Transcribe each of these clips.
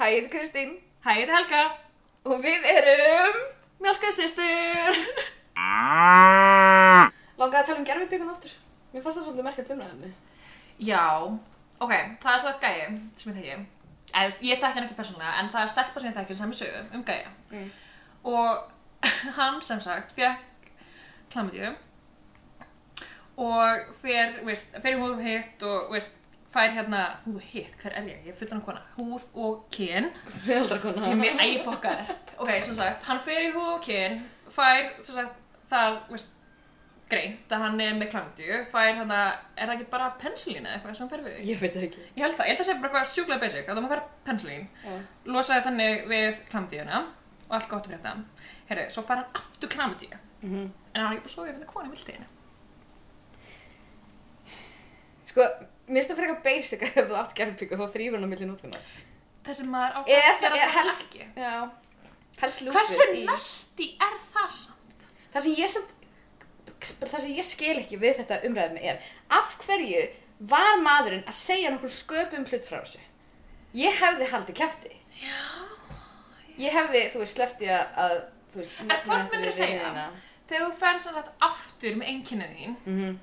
Hæð Kristín Hæðið Helga, og við erum Mjölka sýstur. Langaði að tala um gerfibyggun aftur Mér fannst það svolítið merkjant umræðumni Já, ok, það er svo gæi sem ég þekki. Eða, þú veist, ég þekki hann ekki persónulega, en það er stelpa sem ég þekki sem er sögum um gæja. Mm. Og hann sem sagt fekk klamidíu og fer, veist, fer í húð og hitt og veist, fær hérna húð og hitt, hver er ég? Ég er fullan af kona. Húð og kyn. Meðaldra kona Ég mér æg fokkar. Ok, sem sagt, hann fer í húð og kyn, fær, sem sagt, það, veist, greint að hann er með klamdíu, fær hann að, er það ekki bara pensilín eða eitthvað sem hann fer við? Ég veit það ekki Ég held það, ég held það sé bara eitthvað sjúklega basic, að það maður fær pensilín, Já. losaði þannig við klamdíuna og allt gott að frétta. Herru, svo fær hann aftur klamdíu, Mhm. en hann er ekki bara svo yfir það konu viltiðinu. Sko, mér finnst það frekar basic að ef þú átt gerfbyggu þá þrýfur hann á milli nótuna Þessi maður á Er- þegar er hann helst- ekki. Já Helst lúpið Hversu næsti er það samt? Það sem ég sem Það sem ég skil ekki við þetta umræðumni er Af hverju var maðurinn að segja nokkur sköpum hlut frá þessu? Ég hefði haldið kæfti Já. Ég hefði, þú veist, sleppti að, að þú veist, En hvort myndirðu segja? Þegar þú fær sem sagt aftur með einkynnið þín Mm -hmm.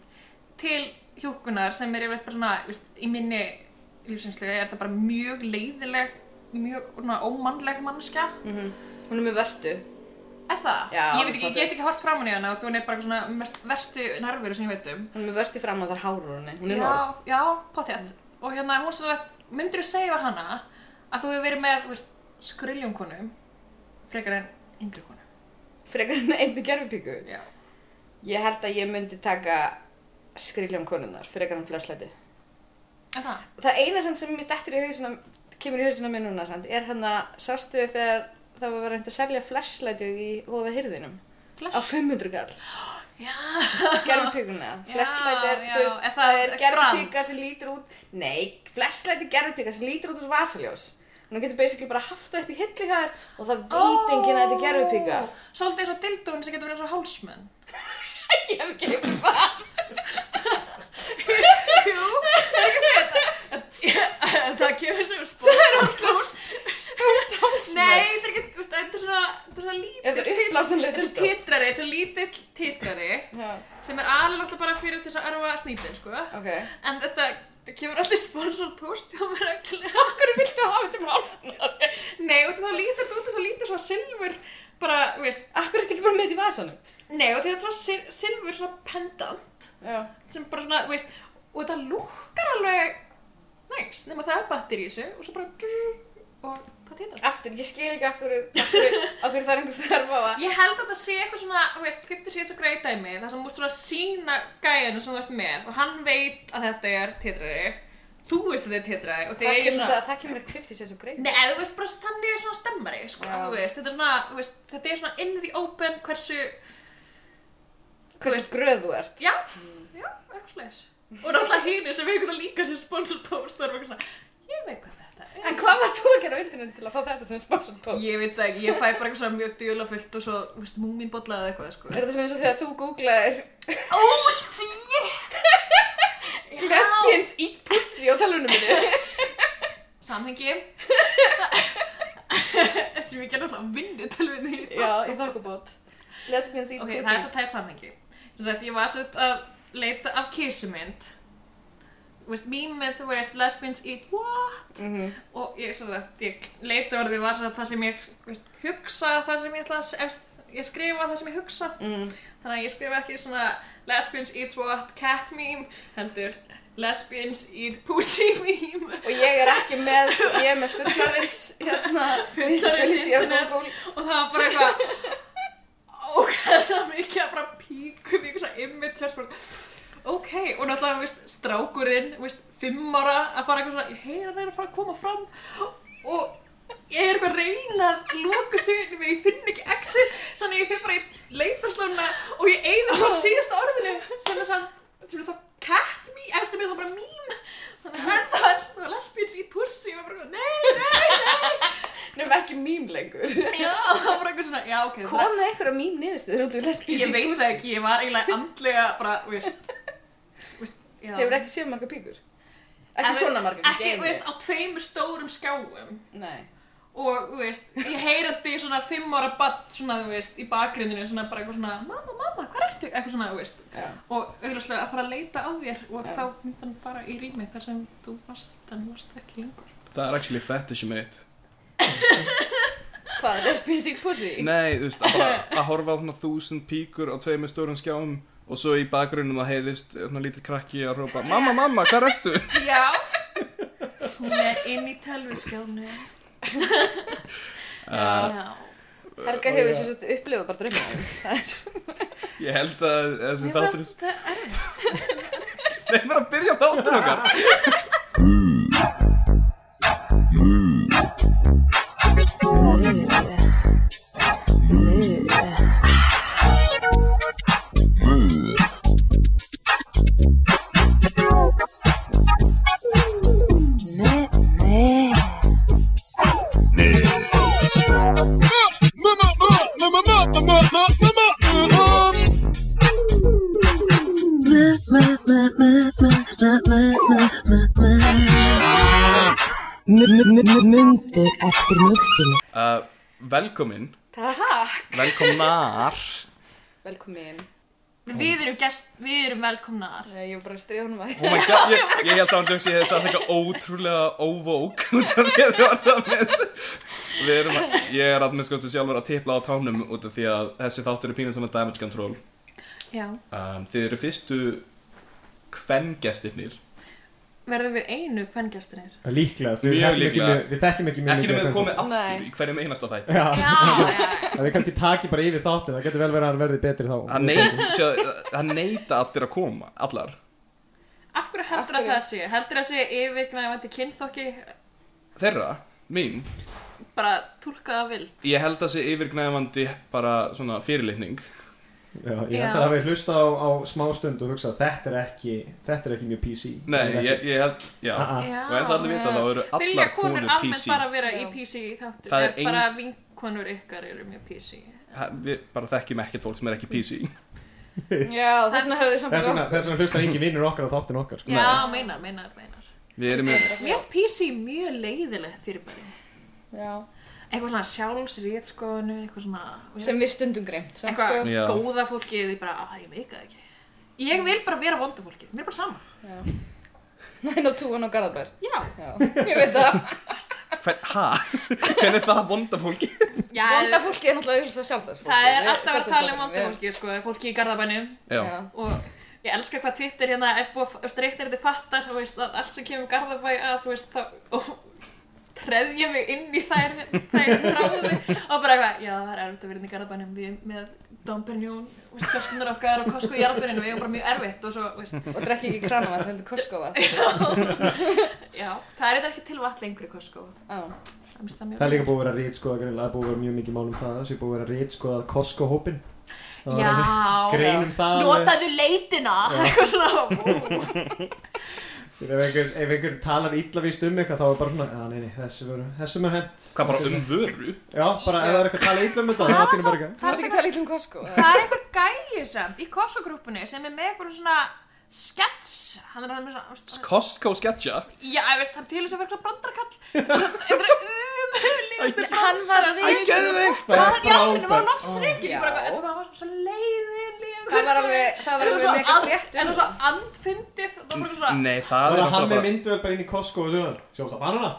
til hjúkunar sem er yfirleitt bara svona, viðst, í minni lífsinslu er þetta bara mjög leiðileg, mjög svona, ómannleg mannskja. Hún er með vörtu. Er það? Já, ég veit ekki, ég pottet. get ekki hort framan í hana og þú er bara eitthvað svona mest verstu nervur sem ég veit um. Hún er með vörtu fram að það er hárur henni. Hún er Já, norð. já, pottétt. Og hérna, hún sem sagt, myndir þú segja við hana að þú hefur verið með, þú veist, skruljónkonu frekar en yngri konu. Frekar henni einni gerfipíku. Já. Ég held að ég myndi taka skriljum konunnar, frekar hann fleslæti. En það? Það eina sem, sem mér dettur í hausina, kemur í hausina minn núna, sant, er hann að sástu þegar það var reynd að selja fleslætið í góða hirðinum. Á Flash? 500 gall. Já. gerfipíkuna Já, flashlight er, já, þú veist, er það- það er er gerfipíka sem lítur út nei, flashlight er gerfipíka sem lítur út úr vasaljós en þú getur basically bara haft það upp í hilli hjá þér og það veit enginn að þetta er gerfipíka Ó, Svolítið eins og dildón sem getur verið eins og hálsmenn. ég hef ekki eitthvað það Jú, það er ekki að segja þetta. En það kemur sem spór. stórt hásmenn Nei, þetta er ekki, þú veist, þetta er svona, þetta er svona lítill. er það upplásanlega Þetta er dildó? titrari, þetta er lítill titrari Já, sem er aðalega alltaf bara fyrir til þess að örfa snýtin, sko. ok En þetta, þetta kemur alltaf sponsor post hjá mér reglulega. hverju viltu hafa þetta með hálsmenn? Nei, og þá lítur þetta út þess að lítur svona silfur, bara, þú veist, akkur er þetta ekki bara með þetta í vasanum? nei, og þetta er svona sil- silfur svona pendant já, sem bara svona, þú veist, og þetta lúkkar alveg næs, nema það er batteri í þessu og svo bara og það titrar. aftur, ég skil ekki akkur akkur það er einhver þörf á að Ég held að þetta sé eitthvað svona, þú veist, 50 síðan svo greið dæmi, það sem múst svona sína gæðinu sem þú ert með og hann veit að þetta er tétrari, þú veist að þetta er tétrari og það þegar ég kemur, svona... það, það kemur ekkert 50 sem svo greið Nei, eða þú veist, bara þannig er svona stemmari, sko, Já. þú veist, þetta er svona, þú veist, þetta er svona in the open, hversu, hversu gröð þú ert já, já, eitthvað slags. Og náttúrulega hínu sem hefur það líka sem sponsor post, það er eitthvað svona, ég veit hvað þetta er. En hvað varst þú að gera á internetu til að fá þetta sem sponsored post? Ég veit það ekki, ég fæ bara eitthvað svona mjög djölafullt og svo, þú veist, múminbolla eða eitthvað, sko. Er þetta svona eins og þegar þú googlaðir Ó, shit! lesbians eat pussy á talunum minni? samhengi sem ég gerði alltaf vinnu tölvinni Já, í þokkabót. Lesbians eat ok, pussy. það er svo þær samhengi sem sagt, ég var svo að leita af kísumynd þú veist, mýmið, þú veist, lesbians eat what Mm og ég, svo sagt, ég leita orðið var svo að það sem ég þú veist, hugsa það sem ég ætla að ef, ég skrifa það sem ég hugsa mm. þannig að ég skrifa ekki svona lesbians eat what cat meme heldur lesbians eat pussy meme Og ég er ekki með, sko, ég er með fullarins, hérna, Fullorðins visibility á internet. Google. og það var bara eitthvað ókvæðslega mikið að bara píkum í eitthvað svona image er bara, ok, og náttúrulega þú veist, strákurinn, þú veist, fimm ára að fara eitthvað svona, ég heyra hann er að fara að koma fram og ég er eitthvað að reyna að loka sig inni, ég finn ekki exit, þannig að ég fyrir bara í leitarslóna og ég eigða það síðasta orðinu sem er svona, sem er það cat me, eða sem er það bara mím þannig að það er það lesbíins í pussi og ég var bara, nei, nei, nei Nefnum ekki mím lengur. Já, það var eitthvað svona, já, ok. það- Komið einhverja mím niðurstöður út úr lesbians Ég eat veit pussy? það ekki, ég var eiginlega andlega bara, þú veist, þú veist, já. Þeir eru ekki séð marga píkur. Ekki En, svona marga, Ekki, einu. þú veist, á tveimur stórum skjáum. Nei. og, þú veist, ég heyrandi svona fimm ára badd, svona, þú veist, í bakgrindinu, svona bara eitthvað svona, mamma, mamma, hvað ertu? Eitthvað svona, þú veist, Já. og auðvitað að fara að leita á þér og Já. þá myndi hann bara í rými þar sem þú varst en varst ekki lengur. Það er actually fetish mitt. Hvað, lesbísi pussi? Nei, þú veist, að, bara, að horfa á svona þúsund píkur á tveimur stórum skjáum og svo í bakgrunnum að heyrist svona lítið krakki að hrópa Mamma, mamma, hvað ertu? Já, hún er inn í telviskjánu. Já. Uh, oh, Helga hefur sem sagt upplifað bara draumum. ég held að þessi Mér þáttur... fannst það erfið. Nei, bara að byrja þáttur okkar. Myndir eftir mjölkina Uh, velkomin, Takk. velkomnar. Velkomin. Við erum gest, við erum velkomnar. Nei, Ég var bara að stríða honum að Oh my god, ég, ég held að hann dögst ég hefði sagt eitthvað ótrúlega óvók út af því að við varum það með þessu. Við erum að, ég er að minnst skoðstu sjálfur að tipla á tánum út af því að þessi þáttur er pínum svona damage control. Já. Um, þið eru fyrstu kvengestirnir Verðum við einu kvengjastinir? Það er líklega, sko, við Mjög þekkjum líklega. ekki- Við þekkjum ekki mjög Ekki nema þið komið aftur Nei. í hverjum einasta þætti Já, Já, já. það er kannski taki bara yfir þáttin, það getur vel verið að hann verði betri þá Það neyta, sjá, það neita allir að koma, allar Af hverju heldur Af að hverju? það sé? Heldur að sé yfirgnæfandi kynþokki Þeirra, mín, bara túlkaða vild? ég held að sé yfirgnæfandi bara svona fyrirlitning Já, ég Já. held að það hafi hlusta á, á smá stund og hugsa þetta er ekki, þetta er ekki mjög PC Nei, ég, ég held, já Ah, Já. Og eins og allir vita þá eru Vilja allar konur konur almennt PC bara vera í Já. PC þáttu? Það Það er er bara vinkonur ykkar eru mjög PC. Ha, Við bara þekkjum ekkert fólk sem er ekki PC það. Já, þess vegna höfðu Þess samt vegna, þess vegna hlustar engin vinnur okkar á þáttin okkar sko. Já, Nei. meinar, meinar, meinar. Við erum með Mér finnst PC mjög leiðilegt fyrir bara. Já. Eitthvað svona sjálfsriðskoðinu, eitthvað svona... Sem við stundum sko. greimt. Sem Eitthvað Já. góða fólkið, ég bara, að ég veit það ekki. Ég vil bara vera vonda fólkið, mér er bara sama. Já. Nine og two og Garðabær. Já, Já, ég veit það. Hvern, ha? Hvernig er það vonda fólki? já Vonda fólki er náttúrulega auðvitað sjálfstæðsfólki. það er alltaf að tala um vonda fólkið, sko, fólki í Garðabænum Já, og ég elska hvað Twitter hérna er búið að streytir þetta fattar og veist að allt sem kemur Garðabæ að þú veist þá og treðja mig inn í þær þær ráði og bara eitthvað já það er erfitt að vera inn í Garðabænum við með Dom Pernjón veist koskunar okkar og kosku í Garðabænum við erum bara mjög erfitt og svo veist Og drekki ekki kranavat, heldur Koskova. Já. já það er þetta ekki til vatn lengur í Costco það finnst það Það mjög er líka búið að vera rítskoða greinlega, það er búið að vera mjög mikið mál um það Það er búið að vera rítskoða Costco-hópin Það var alveg- já Greinum það alveg. notaðu leitina eitthvað svona ó. Ef einhver, ef einhver talar illa víst um eitthvað þá er bara svona, já nei, nei, þessi vöru, þessum er hent hvað bara um vöru? Já, bara ef það er eitthvað að tala illa um þetta, þá Það er var allir svo- bara eitthvað Það er ekki að tala illa um Koskova. Það er einhver gæi samt í Kosovo-grúpunni sem er með einhver svona skets, hann er hann með svona veist, Costco sketcha? já, ég veist, hann er til þess að vera svona brandarkall eitthvað umhulli Hann var að Æ, geðveikt! Það var hann í Frábært. alveg, var hann loksins Já. reygin ég bara, eitthvað, þetta var- hann var svona leiðileg Það var alveg, það var alveg mega frétt um en það var svo andfyndið það var bara eitthvað svona, Nei, það Það er var hann náttúrulega með bara myndu bara inn í Costco og svona Sjá það banana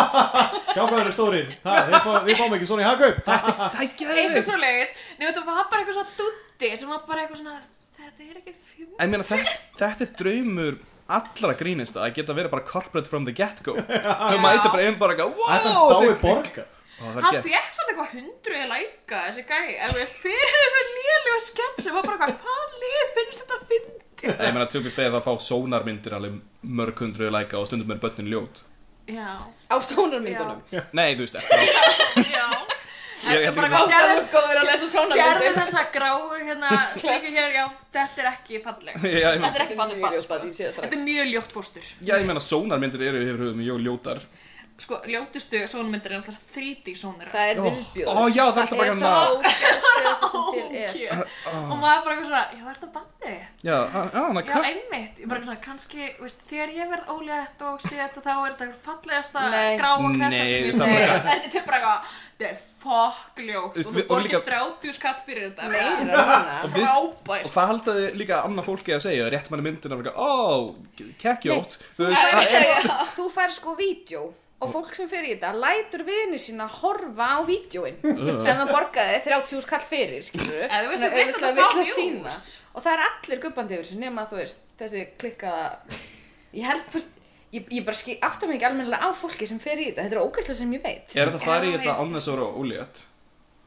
Sjá hvað þeir eru stórir ha, við, fá, við fáum ekki svona í hagkaup ha, ha, ha. Það er eitthvað geðvikt svo leiðis nema þetta var bara eitthvað svona dutti sem var bara eitthvað svona, þetta er ekki fjum En mér að þetta, þetta er draumur allra grínista að geta verið bara corporate from the get-go Þau mæta bara einn bara eitthvað Þetta Wow! stáir þetta- borga Ó, það er hann gett. fekk svona eitthvað hundruði læka þessi gæi, en þú veist, fyrir þessi lélega skets sem var bara eitthvað, hvað lið finnst þetta fyndi? Nei, Ég meina, tökum fyrir það að fá sónarmyndir alveg mörg hundruð læka og stundum er börnin ljót Já, á sónarmyndunum. Nei, þú veist, eftir á já Ég held Bara ekki eitthvað, Sérðu góður að lesa sérðu- Sérðu sónarmyndir. þessa gráu hérna, slíku hér, já, þetta er ekki falleg Já, ég meina- Þetta er ekki falleg barn, sko. Ég sé það Þetta er strax. mjög ljótt fóstur Já, ég meina, sónarmyndir eru yfir höfum mjög ljótar sko, ljótustu sónmyndir er alltaf 3D sónir Það er Ó. viðbjóður. Ó, já, þetta er bara Það hérna- er það ógæðslegasta sem til er. og maður bara eitthvað svona, já, er þetta bandi? Já, á- á, hana, Já, hvað? einmitt, ég bara svona, kannski, veist, þegar ég verð ólétt og sé þetta þá er þetta fallegasta Nei. gráa klessa sem Nei, ég það sé bara- en þetta er bara eitthvað, þetta er fokk ljótt Veist, og þú við- og borgir líka- 30 skatt fyrir þetta Meira núna. Og við- frábært Og hvað haldaði líka annað fólki að segja? Rétt manni myndin að vera, ó, kekkjótt. Þú Það er veist, "Ah, að segja, þú fær sko vídjó og fólk sem fyrir í þetta lætur vini sína horfa á vídjóin sem það borgaði 30 skall fyrir, skilur Eða þú veist, þú veist að það fá views. Og það er allir gubbandi yfir þessu nema þú veist, þessi klikkaða, ég held, þú veist, ég, ég bara skil, áttar mig ekki almennilega á fólki sem fyrir í þetta, þetta er ógæslega sem ég veit. er þetta að fara í Já, þetta ég skil. án þess að vera ólétt?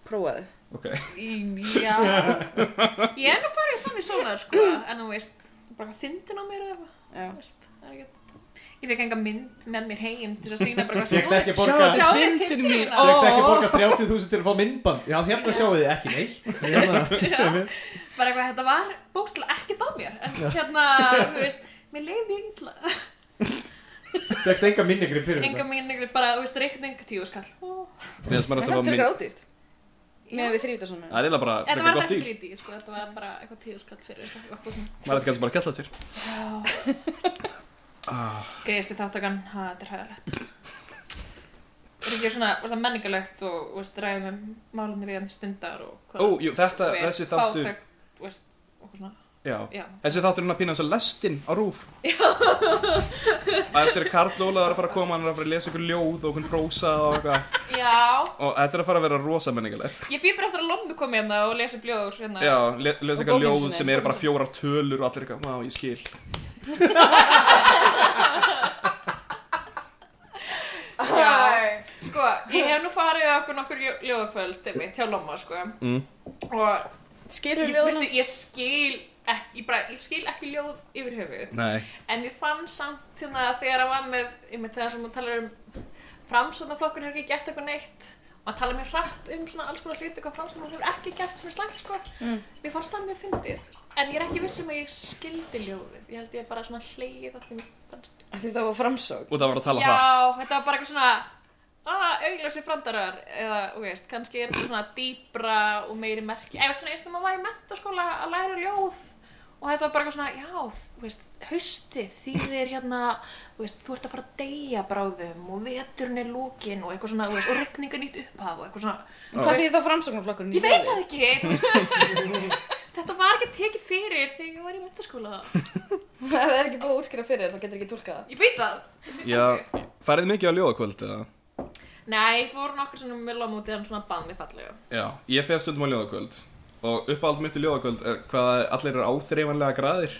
Prófaðu. Ok. Í- Já, ég er nú farið þannig svona, sko, en þú veist, bara þindin á mér eða eitthvað, Já. þú veist, það er ekki, ég fekk enga mynd með mér heim til að sína bara eitthvað Fékkst ekki Sjáðu borgað- Sjáðu þið þið myndin mín, myndina. ó. Fegst ekki borga 30.000 til að fá myndband Já, hérna sjáu þið ekki neitt Hérna- bara eitthvað, þetta var bókstælega ekki að mér, en hérna, þú veist, mér leiði ég illa. Fegst enga minnigrip fyrir Enga þetta mín ykkur bara, þú veist, reikning tíu skall. Ó. Mér finnst maður En það þetta var er mynd. tökur ódýrt, með við þrývítarsanum. Það er eiginlega bara, Þetta frekar var gott ekki dýr. lítið, sko, þetta var bara eitthvað tíu skall fyrir okkur. Maður þetta kannski bara að kalla þér. Greiðsli þáttakann, ha, þetta er hæðalegt. Þetta er ekki svona, þú veist, það er menningalegt og, þú veist, ræðum um málunir í enn stundar og hvað. Ó, jú, þetta, þú veist, þessi þáttur, Fátækt, þú veist, okkur svona, já. já. Þessi þáttur er hann að pína hans að lestin á rúf. Já. Eftir að Karl Ólaður er að fara að koma, hann er að fara að lesa ykkur ljóð og okkur prósa og eitthvað. Já, Og þetta er að fara að vera rosa menningalegt. ég býr bara eftir að lommi komi hérna og lesa bljóður hérna. Já, le lesa Og eitthvað bókin ljóð sinni. sem eru bara fjórar tölur og allir eitthvað, má, ég skil. Já, sko, ég hef nú farið á okkur nokkur ljóðakvöld, einmitt, hjá lomma, sko. Mm. Og Skilur Ég, veistu, ég skil ekki, ég bara, ég skil ekki ljóð yfir höfuð Nei. en ég fann samt hérna þegar að var með, ég með þegar sem maður talar um framsöndaflokkur hefur ekki gert eitthvað neitt og maður talar mér hratt um svona alls konar hluti hvað framsöndaflokkur hefur ekki gert sem er slæmt sko Mm. mér fannst það mjög fyndið en ég er ekki viss um að ég skildi ljóðið ég held ég bara svona hleið að því mér fannst Því það var framsók. Og það var að tala já, hratt. þetta var bara eitthvað svona Ah, augljósi brandarar, eða, þú veist, kannski er þetta svona dýbra og meiri merki, eða svona, eins og maður var í mentaskóla að læra ljóð og þetta var bara eitthvað svona, já, þú veist, haustið þýðir hérna, þú veist, þú ert að fara að deyja bráðum og veturinn er lókin og eitthvað svona, þú veist, og regninga nýtt upphaf og eitthvað svona, Hvað því það framsóknarflokkurinn? ég veit það ekki, þú veist, þetta var ekki tekið fyrir þegar ég var í mentaskóla, Ef það er ekki búið að útskýra fyrir þér, þá getur ekki tólkað það. ég veit það. Já. Farið þið mikið á ljóðakvöld, eða? Nei, fór nokkur svona með lómútið hann svona bað mig fallega. Já, ég fer stundum á ljóðakvöld. Og uppáhald mitt í ljóðakvöld er hvað allir eru áþreifanlega graðir.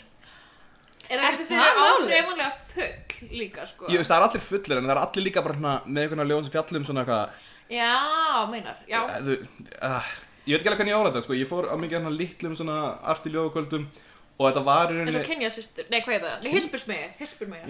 Er Er það ekki það þeirra málið? áþreifanlega full líka, sko? Ég veist, það er allir fullir en það er allir líka bara hana, með einhverjum ljóðum sem fjallum svona eitthvað Já, meinar, já. Eh, þú, uh, Ég veit ekki alveg hvernig ég ára þetta, sko Ég fór á mikið hana litlum svona arti ljóðakvöldum og þetta var í En svo rauninni kynja sýstur, nei, hvað er það? Nei, hispurs mig, hispurs mig.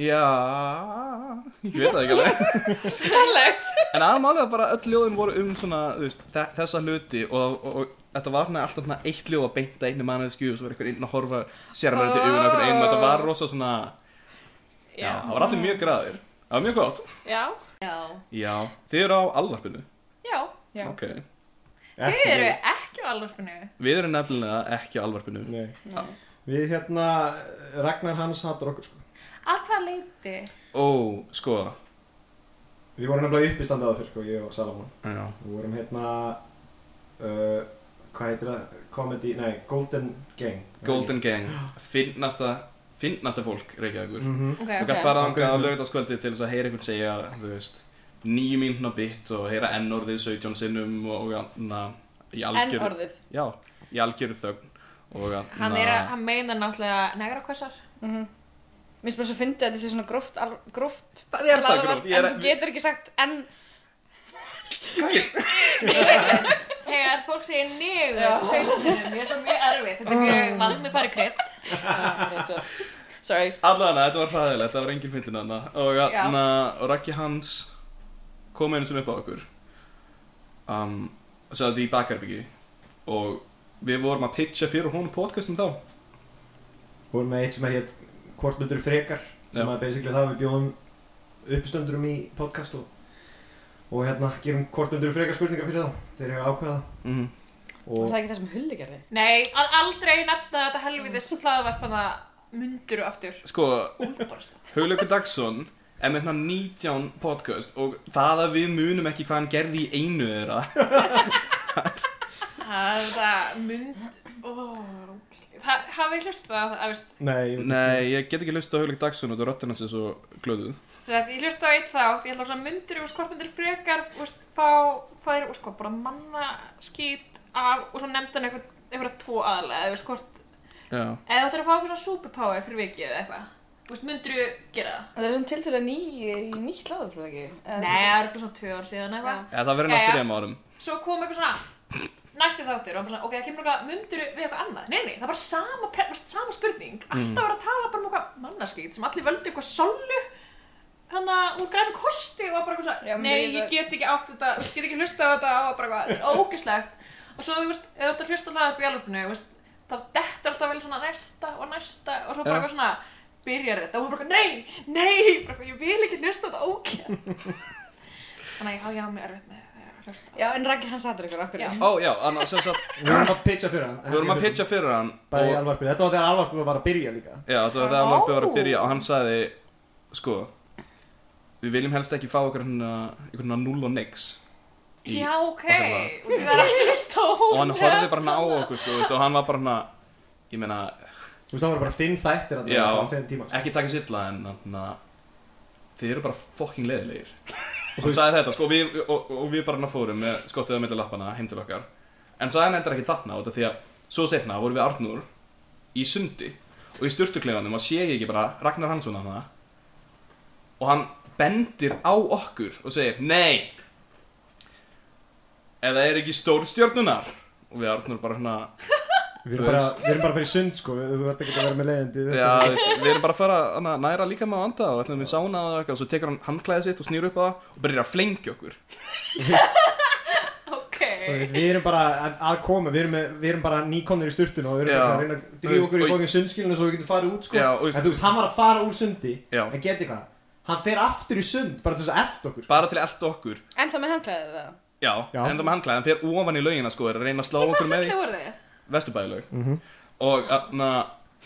Já, ég veit það ekki alveg Fælegt. En aðmálega bara öll ljóðin voru um svona þú veist, þe- þessa hluti og, og, og þetta var hana alltaf hana eitt ljóð að beinta einu manneskju og svo var einhver inn að horfa sér hann oh. Oh. augun og einhver einu þetta var rosa svona, já, Já. það var allir mjög graðir Það var mjög gott Já. Já. Já, þið eru á alvarpinu Já. Já. Ok, Þau Ekki eru við. ekki á alvarfinu. við erum nefnilega ekki á alvarpinu Nei. Nei. Við hérna, Ragnar Hans hattar okkur sko Að hvað leiti? Ó, sko Við vorum nefnilega uppistandið aða fyrr sko, ég og Salamon Já, Við vorum hérna uh, Hvað heitir það? Comedy, nei, Golden Gang Golden Gang Finnasta, finnasta fólk Reykjavíkur mm. mm Ok, Og ok. gæst fara Ok. þangað á lögutaskvöldi til þess að heyra einhvern segja Þú veist, nýju mínuna bytt og heyra n-orðið 17 sinnum og, og na, í En algjör orðið. Já, í algjör þögn og Hann er að, hann meinar náttúrulega negra kossar. Mhm. Mér finnst bara svo fyndið að þetta sé svona gróft, al, gróft Það er það gróft, ég en er þú getur ekki sagt en Þegar fólk segir negra, Já. þú segir þetta mér er svo mjög erfið. Þetta er Mm. mjög vald með farið kreitt. Ah, Sorry Allavega, þetta var hræðilegt, það var engin fyndin hana Og, Já. na, og Raggi Hans kom einu sinni upp á okkur um, Sæði í bakarbyggi Og við vorum að pitcha fyrir honum podcastum þá vorum með eitt sem að hétt Hvort myndur frekar sem Já. að basically það við bjóðum uppstöndurum í podcast og og hérna gerum kortundur frekar spurningar fyrir þá þeir eru að ákveða Mhm. það Var og það ekki það sem hulli gerði? Nei, að aldrei nefna þetta helviðis hlaðvarpana mundur og aftur. Sko, Úlbarsta. Hugleikur Dagsson er með hérna 19 podcast og það að við munum ekki hvað hann gerði í einu þeirra Það er þetta mynd... Ó, ógeðslega. Það hafið hlustað á það, að veist, nei, ég veit ekki. Nei, ég get ekki hlusta á Hugleikur Dagsson og þetta röttin hans er svo glöðuð Það er, ég hlusta á eitt þátt, ég held á svona myndir og skorpundir frekar, þú veist, fá, hvað er, sko, bara manna skýt af, og svo nefndi hann eitthvað, eitthvað tvo aðalega, eða þú veist, hvort, Já, eða þú ættir að fá eitthvað svona superpower fyrir vikið eða eitthvað, þú veist, myndir þú gera það? Það er svona til til að nýja í nýtt laður, fyrir ekki? Eða Nei, það er bara svona tvö ár síðan eitthvað. Já. Eða, það Já, verður já. náttúrulega þrejum árum Svo kom eitthvað svona, næsti þáttur, og hann bara svona, ok, það kemur eitthvað, myndir við eitthvað annað? Nei, nei, það er bara sama, pre- bara sama spurning, alltaf var að tala bara um eitthvað mannaskýt sem allir völdu eitthvað sollu, þannig að úr græn kosti og var bara eitthvað Já, svona, menn nei, ég- ég get ekki átt þetta, ég get ekki hlustað á þetta og bara eitthvað, þetta er ógeslegt. Og svo, þú veist, ef þú ert að hlusta hlaða upp í alvöfnu, þú veist, það dettur alltaf vel svona næsta og næsta og svo bara Já. eitthvað svona, byrjar þetta og hún bara, eitthvað, nei, nei, bara, eitthvað, ég vil ekki hlusta á þetta ógeð. Þannig að já, já, mér er erfitt með að hlusta. Já, en Raggi hann sattur ykkur okkur. Já. Ó, já, annars sem sagt, við vorum að pitcha fyrir hann við vorum að pitcha fyrir hann bara í og, alvarpinu, þetta var þegar alvarpinu var að byrja líka Já, þetta var þegar hann var Ó. að byrja og hann sagði Sko, við viljum helst ekki fá okkur hérna, einhvern veginn null og nix í- Já, ok, okkar lag. og það er alltaf stóð Og hann horfði bara hann á okkur, sko, veist, og hann var bara hann Ég meina, þú veist það var bara fimm þættir að Já. það var þeim tíma sko. ekki taka silla en hann Þið eru bara fucking leðilegir Og hann sagði þetta, sko, og við, og, og við bara hann fórum með skottuða milli lappana heim til okkar En sagði hann endur ekki þarna út af því að Svo setna vorum við Arnur í sundi Og í styrtukleifanum og sé ég ekki bara Ragnar Hansson hana Og hann bendir á okkur og segir Nei Eða er ekki stórstjörnunar Og við Arnur bara hérna við Þú erum bara, veist. við erum bara fyrir sund sko við- þú ert ekki að vera með leiðindi við- Já, þú veist, við erum bara að fara hana, næra líka með að anda og ætlum við sána og eitthvað og svo tekur hann handklæðið sitt og snýr upp á það og byrjar að flengja okkur Ok, Þú veist, við erum bara að, að koma, við erum, með, við erum bara nýkomnir í sturtun og við erum Já. bara að reyna að Þú drífa veist, okkur í og- fókin sundskilinu svo við getum farið út sko. Já, og þú veist- en þú veist, hann var að fara úr sundi, Já. en geti hvað, hann fer aftur í sund bara til þess að ert okkur. sko. bara til að elda okkur En það með handklæðið það. Já, Já. enda með handklæðið, hann fer ofan í laugina sko er að reyna að slá hvað okkur með svolítið því voru þið? Vesturbæðilaug Mhm. og þarna,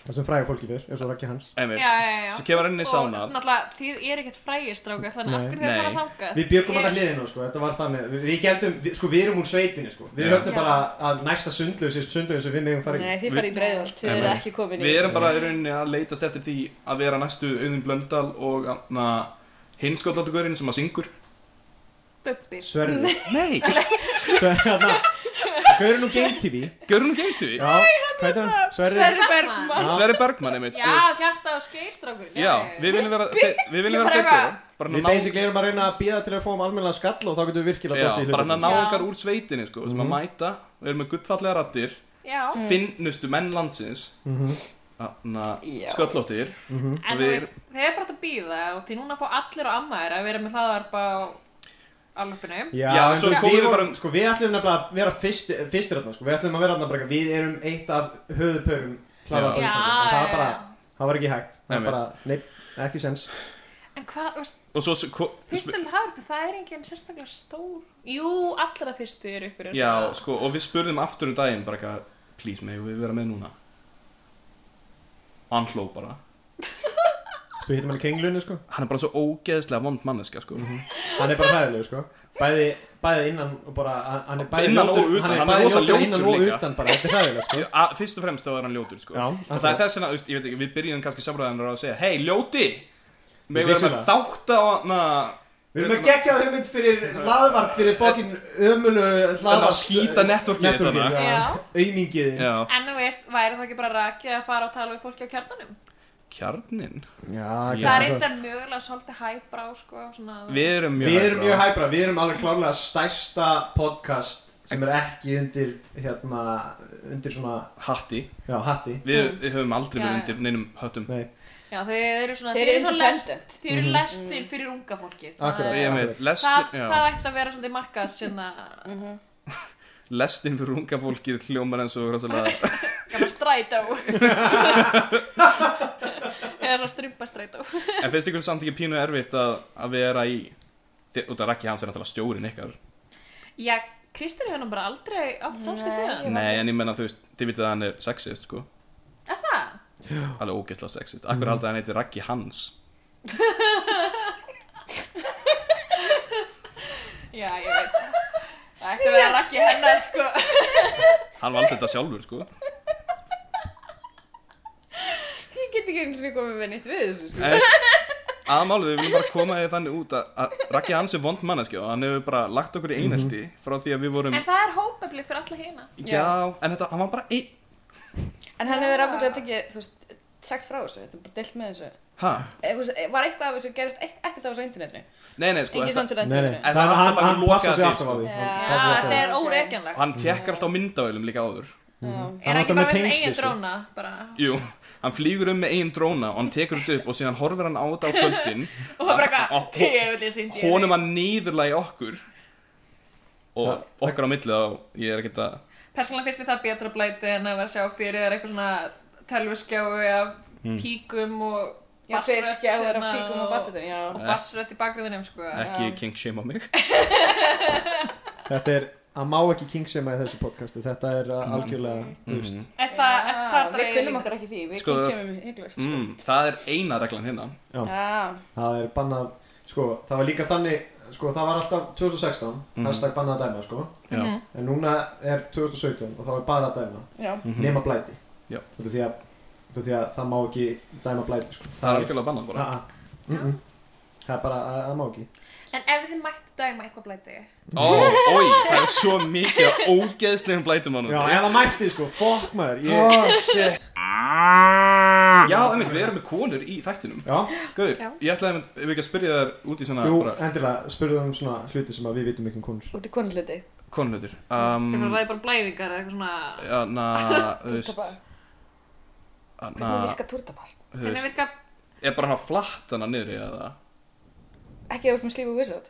Það sem fræga fólki fyrr, eins og Raggi Hans. einmitt, Já, já, já svo kemur hann inn í sána Og náttúrulega, þið er ekkert frægir strákar, þannig að Nei. okkur þið er Nei. bara þangað Við bjökum alltaf hliðinu, sko, þetta var þannig, við, við heldum, við, sko, við erum úr sveitinni, sko, við Já. höfum Já. bara að næsta sundlaug sé sundlaug sem við megum fara í. Nei, þið farið í breiðvald, þið Nei, eru nei. ekki komin í. Við erum bara í rauninni að leitast eftir því að vera næstu auðin Blöndal og þarna hinskotlátugurinn sem að syngur Bubbir Sverri, Nei, Sverri, hérna, Gaurinn úr Game TV, görun og geyti já, hvað heitir hann? Sverri, Sverri Bergman. Já. Sverri Bergmann, einmitt Já, þú veist. hjarta og skeir strákur Já, við viljum vera, þe- við viljum Ég vera bara þeir gera eitthvað- Bara við ná- basically erum að reyna að býða til að fáum almennilega skall og þá getum við Já, virkilega dottið í bara hann að hlutina. ná Já. okkar úr sveitinni sko, sem að mæta, við erum með guttfallega rattir Já, finnustu menn landsins Mhm. þarna Já. Sko- sköllóttir en þú við- veist, þið er bara hægt að býða og því núna fá allir og amma þeirra að vera með hlaðvarp á alvöpinu Já, Já, en svo þú veist, komum við við vorum, bara- sko, við ætlum nefnilega að vera fyrst, fyrstir þarna, sko, við ætlum að vera þarna bara, eitthvað, við erum eitt af höfðupörum hlaða á Já. Íslandi, Já, en það var já, bara, já. það var ekki hægt, það Einmitt. var bara, nei, ekki sens. En hvað, þú veist, og svo s- ko- fyrstu hlaðvarp, það er engin sérstaklega stór Jú, allra fyrstu eru ykkur já, sko, og við spurðum aftur um daginn bara eitthvað, please megum við vera með núna og hann hló bara Þú hittum hann í kringlunni, sko, hann er bara svo ógeðslega vond manneska sko. hann er bara hæðilegu, sko, bæði, bæði innan og bara, hann- hann er bæði Innan og ljótur- utan, hann er hann er bæði rosa ljótur ljótur innan og líka. utan bara, þetta er hæðilegt, sko. A, fyrst og fremst þá er hann ljótur sko. Já, og það er þess vegna, þú veist, ég veit ekki, við byrjum kannski samræðanur á að segja, hei ljóti megum við vera Vissulega. með þátt á na, Við erum að gegja hugmynd fyrir hlaðvarp, fyrir bókin ömulu hlaðvarp. skýta networkið þarna. já, aumingiðin. já, En þú veist, væri það ekki bara rakið að fara og tala við fólki á kjarnanum? kjarnin Já, Það er kannski. eitthvað mögulega svolítið hæbrá, sko, svona... við erum mjög Við erum mjög hæbra, við erum alveg klárlega stærsta podcast sem er ekki undir, hérna, undir svona, hatti já, hatti. við, við höfum aldrei Já, verið já. undir neinum höttum Nei, Já, þið eru svona... Þið eru svo lest- independent. Þið eru lestin fyrir unga fólki. Akkurat. Ég er með Það, lestin, það já, ætti að vera svolítið markað svona lestin fyrir unga fólkið hljómar eins og rosalega gamla strætó. Eða svona strumpa strætó. En finnst ykkur samt ekki pínu erfitt að, að vera í Þi- út af Raggi Hans er náttúrulega stjórinn ykkar Já, Kristinn hefur nú bara aldrei átt samskip Nei, við hann. ég- Nei, en ég menna, þú veist, þið vitið að hann er sexist, sko Er það? Alveg ógeðslega sexist Akkur mm. haldið að hann heiti Raggi Hans Já, ég veit það. Það ætti að vera rakki hennar, sko. Hann valdi þetta sjálfur, sko Ég get ekki eins og komið með neitt við þessu sko. En, þú veist, Aðmálið, við viljum bara koma því þannig út að, að Raggi Hans er vond manneski og hann hefur bara lagt okkur í einelti frá því að við vorum En það er hópefli fyrir alla hina. Já, en þetta, hann var bara einn En hann hefur ábúinlega tekið, þú veist, sagt frá þessu, þetta er bara deilt með þessu. Ha? Eh, þú veist, Var eitthvað af þessu gerist ekk- ekkert á þessu internetinu? Nei, nei, sko Engin þetta, samtölu á Nei, nei, internetinu? En það, það er hann, alltaf hann bara lokað passa sig til, alltaf sko. á því Já. Ok. Já, það er óreikjanlegt. Hann passar sig alltaf á því. Hann tekkar alltaf á myndavölum líka áður Já. Hann Er hann ekki átti bara með að vera sinna tengsl, eigin sko. dróna, bara? Jú, hann flýgur um með eigin dróna og hann tekur þetta upp og síðan horfir hann á þetta á kvöldin Og bara eitthvað, Á- ég vil ég syndi Honum að niðurlægi okkur og okkar á millið á, ég er ekkert að Persónlega finnst mér það betra blæti en að vera að sjá fyrir þér eitthvað svona tölvuskjáu af Hmm. píkum og Já, hver skjáður af píkum hérna, og bassröttina bassutinu, já. Eh. og bassrött í bakgruðinum, sko. ekki king shame á mig Þetta er að má ekki kingsema í þessu podcasti Þetta er Mm. uh, algjörlega þú Mm-hmm. veist. Er það, er það Við kunnum líka? okkar ekki því, við Sko, kunnum sem við hygglust, sko. mm, Það er eina reglan hérna Já. Já, Það er bannað Sko, það var líka þannig Sko, það var alltaf 2016 Mm-hmm. Hashtag bannað að dæma, sko Já, Mhm. En núna er 2017 og þá er bara að dæma já. Nema blæti Mm-hmm. Já. Þú veist því að Þú veist því að það má ekki dæma blæti, sko það er algjörlega bannað bara Ah, ah. Mm -mm. Það er bara að, að má ekki En ef þið mættu dæma eitthvað blæti Ó, oi, það er svo mikið af ógeðslegum blætum hann Já, ef það mætti, sko, fokk maður ég... Oh shit Já, einmitt, við erum með konur í þættinum Já, Gauður, Já. ég ætlaði einmitt, ef við ekki að spyrja þér út í svona jú, bara endilega, spurðu um svona hluti sem að við vitum ekki um konur Út í konuliti. konunautur Ég um, ræði bara blæðingar eða eitthvað svona Já, na, þú veist Túrtabar. Na, Hvernig virka túrtabar? þú Hvernig veist virka Er bara hann á flatt hann að niður í eða Ekki ef þú ert með slífu wizard.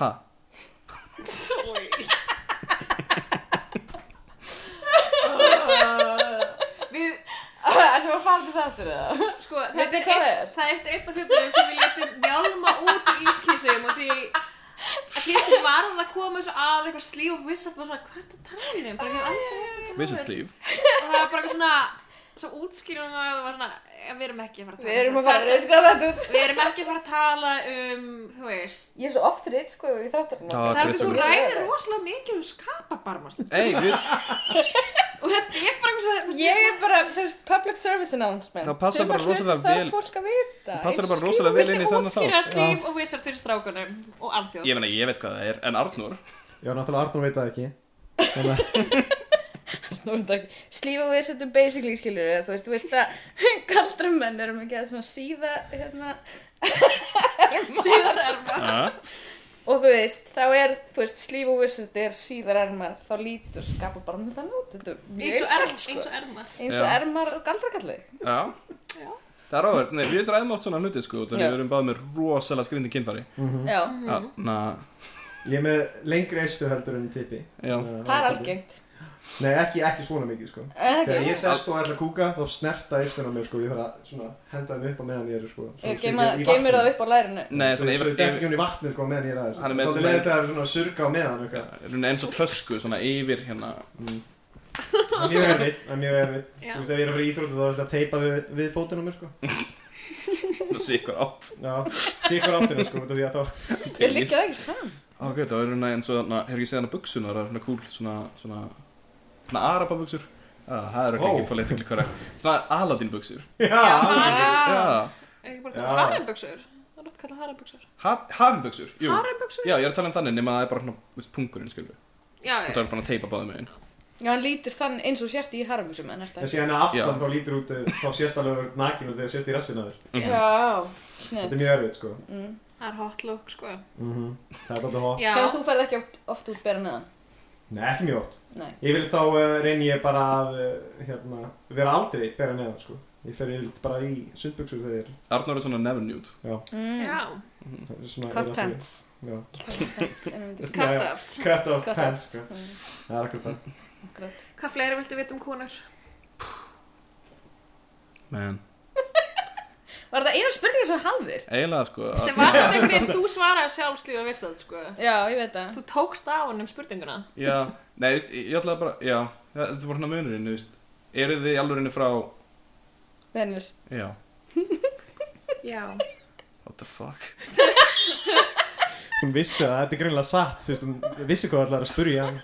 Ha? Við, Ætlum við að fara til það aftur eða? sko, Veitir þetta er hvað einn- það er? Það er eftir einn af hlutunum sem við letum njálma út úr ískísum og því að því að varð að koma þessu að eitthvað slíf og vissat bara svona, hvað er þetta talinu? um?" Bara ekki aldrei heyrt þetta Vincent Sleeve Og það er bara eitthvað svona, svo útskýrum að það var svona, "Ja, við erum ekki að fara að tala um Við erum að fara að reyska þetta út. Við erum ekki að fara að tala um, þú veist Ég er svo oft reitt sko í þátturinn. Já, Það er því Kristján. þú ræðir rosalega mikið um skapabarmast Ei, við, og þetta er bara eitthvað svona Ég er bara, þú veist, public service announcement. Það passar Sumar bara hluti rosalega þarf vel- fólk að vita. Það passar Eins og bara rosalega vel slífur inn í viltu þennan útskýra Skýra þátt. slíf og vissar fyrir strákunum og alþjóð ég meina, ég veit hvað það er En Arnur Já, náttúrulega Arnur veit það ekki Þannig að Nú er þetta ekki. Slífa og við setjum basically skilur þú veist, þú veist að kaldra menn erum ekki að svona síða hérna, Síðar er maður Ha? og þú veist, þá er, þú veist, slífa og við setjum síðar ermar, þá lítur skapa bara með þannig út, þetta er Eins mjög og erma, einfalt, eins og erma sko. eins og Já. ermar og galdra kallið. Já Það er áverð, nei, við dræðum átt svona hluti sko Þannig Já. við erum báðið með rosalega skrýndi kynfæri Já, Mhm. Þannig að, Mhm. Ég er með lengri eistu heldur en tippi Eh, já það er algengt. Nei, ekki, ekki svona mikið sko En Þegar ekki, ég sest og ætla að kúka þá snerta eistun á mér sko Ég þarf að svona, henda þeim upp á meðan ég er sko Svo ég sé geima- ekki í geymir vatninu. það upp á lærinu. Nei, Svo svona ég yfir, dekki ekki yfir, hún í vatnið sko á meðan ég er aðeins Hann er Þá með- er leiðilegt að það er svona að surga á meðan eitthvað svona eins og tösku, svona yfir hérna Mm. Það er Mjög erfitt, það er mjög erfitt Já. Þú veist, ef ég er að vera íþróttu þá er þetta að teipa við, við fótinn á mér sko Það sé ykkur átt Já, sikur áttinu sko, út af því að þá Við liggja það ekki saman. Ok, það er hérna eins og þarna, hefur ekki séð hana buksunar, það er hérna kúl, svona, svona, svona araba buksur. Já, það er ekki Ó. ekki politically correct. Svona Aladdin buksur. Já, Ah. Já, Er ekki bara að Já. kalla haramböksur? Það er nátt að kalla haramböksur hafin buksur, jú. Haramböksur? Já, ég er að tala um þannig nema það er bara hérna, veist, pungurinn, skilur við. Já, Og já það er bara um að teipa báðum meginn. Já, hann lítur þann eins og sért í haramisum en næsta. En síðan að aftan Já. þá lítur út, uh, þá sést alveg nakinu þegar sést í restina þér. Mhm. Já, Mm. Þetta snett. er mjög erfitt sko. Það er hot look, sko Það er alltaf hótt. Já, Þannig að þú ferð ekki oft, oft út bera neðan. Nei, ekki mjög hótt. Nei. Yfirleitt þá uh, reyni ég bara að uh, hérna, vera aldrei bera neðan sko. Ég fer yfirleitt bara í sundbuksur þegar ég er- Arnur er svona never nude. Mm. já það er svona... Hot er alltaf- pants. Já. Akkurat. Cut-offs Cut off Cut pants offs. sko. Mm. Það er akkur það. Hvað fleira viltu vita um konur? Man. Var þetta eina spurninga sem þú hafðir? Eiginlega sko sem var samt einhvern veginn þú svaraði sjálfslíða virsað sko Já, ég veit það. þú tókst á hann um spurninguna Já, nei, þú veist, ég ég ætlaði bara, já, það- þetta var hérna munurinn, þú veist Eru þið í alvörinu frá, Venus. já, já what the fuck Hún vissi að þetta er greinlega satt, fyrst hún vissi hvað allar að spurja hann.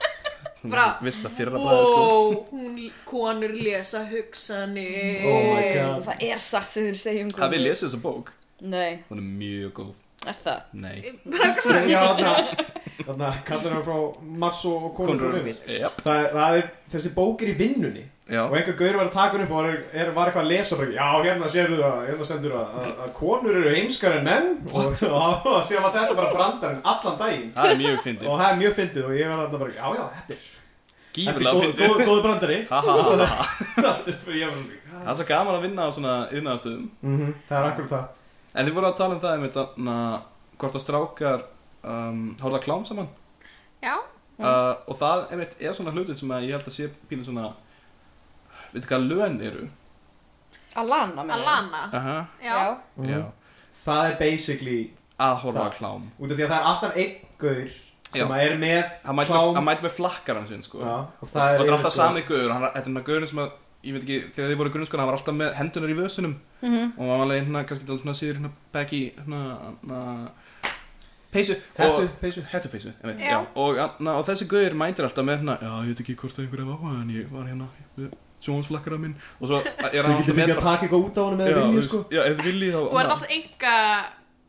Hún Bara- vissi það fyrra bræði sko Ó, hún konur lesa hugsanir Oh my god. Það er satt sem þið segjum. Hafið þið lesið þessa bók? Nei, Hún er mjög góð, er það? nei bara eitthvað svona Já, þarna, þarna kallar hann frá Mars og og konur frá Venus. Já, Það er, það er, þessi bók er í vinnunni já, og einhver gaur var að taka hann upp og var, er, var eitthvað að lesa og bara, já, hérna sérðu að, hérna stendur að, að, að konur eru heimskar en menn og, og, og síðan var þetta bara brandarinn allan daginn það er mjög fyndið og það er mjög fyndið og ég var alltaf bara, já, já, þetta er Þetta Gífurlega er góð- fyndið góð- góður brandari Ha, ha, ha, ha. Þetta er fyrir ég Það er svo gaman að vinna á svona yðnaðarstöðum var Mhm, Það er akkur það En þið voru að tala um það einmitt að na, hvort að strákar um, horfa á klám saman já, uh, og það einmitt er svona hlutin sem að ég held að sé pínu svona veitu hvað lön eru Alana, meina. Alana uh Já. já, já, Það er basically að horfa Mm. Það. á klám út af því að það er alltaf einn gaur Já. sem að er með hann mæti, með, hann mæti með flakkaran sinn sko Já, og og það er sko- yfirleitt- alltaf sami guður og hann- þetta er hann gaurinn sem að ég veit ekki, þegar þið voru grunnskona, hann var alltaf með hendunar í vösunum Mhm. og hann var alveg hérna, kannski dálítið svona síður hérna, baggy, hérna, hérna peysu Hettu, og, peysu hettupeysu, ég veit, Já. já. Og, na, og þessi gauðir mændir alltaf með hérna, já, ég veit ekki hvort það einhverja var áhuga en ég var hérna með sjónsflakkara minn og svo er hann Þú alltaf getur með ekki að taka eitthvað út á hann með já, þú vilja veist, sko já, ef þið viljið þá og er alltaf enga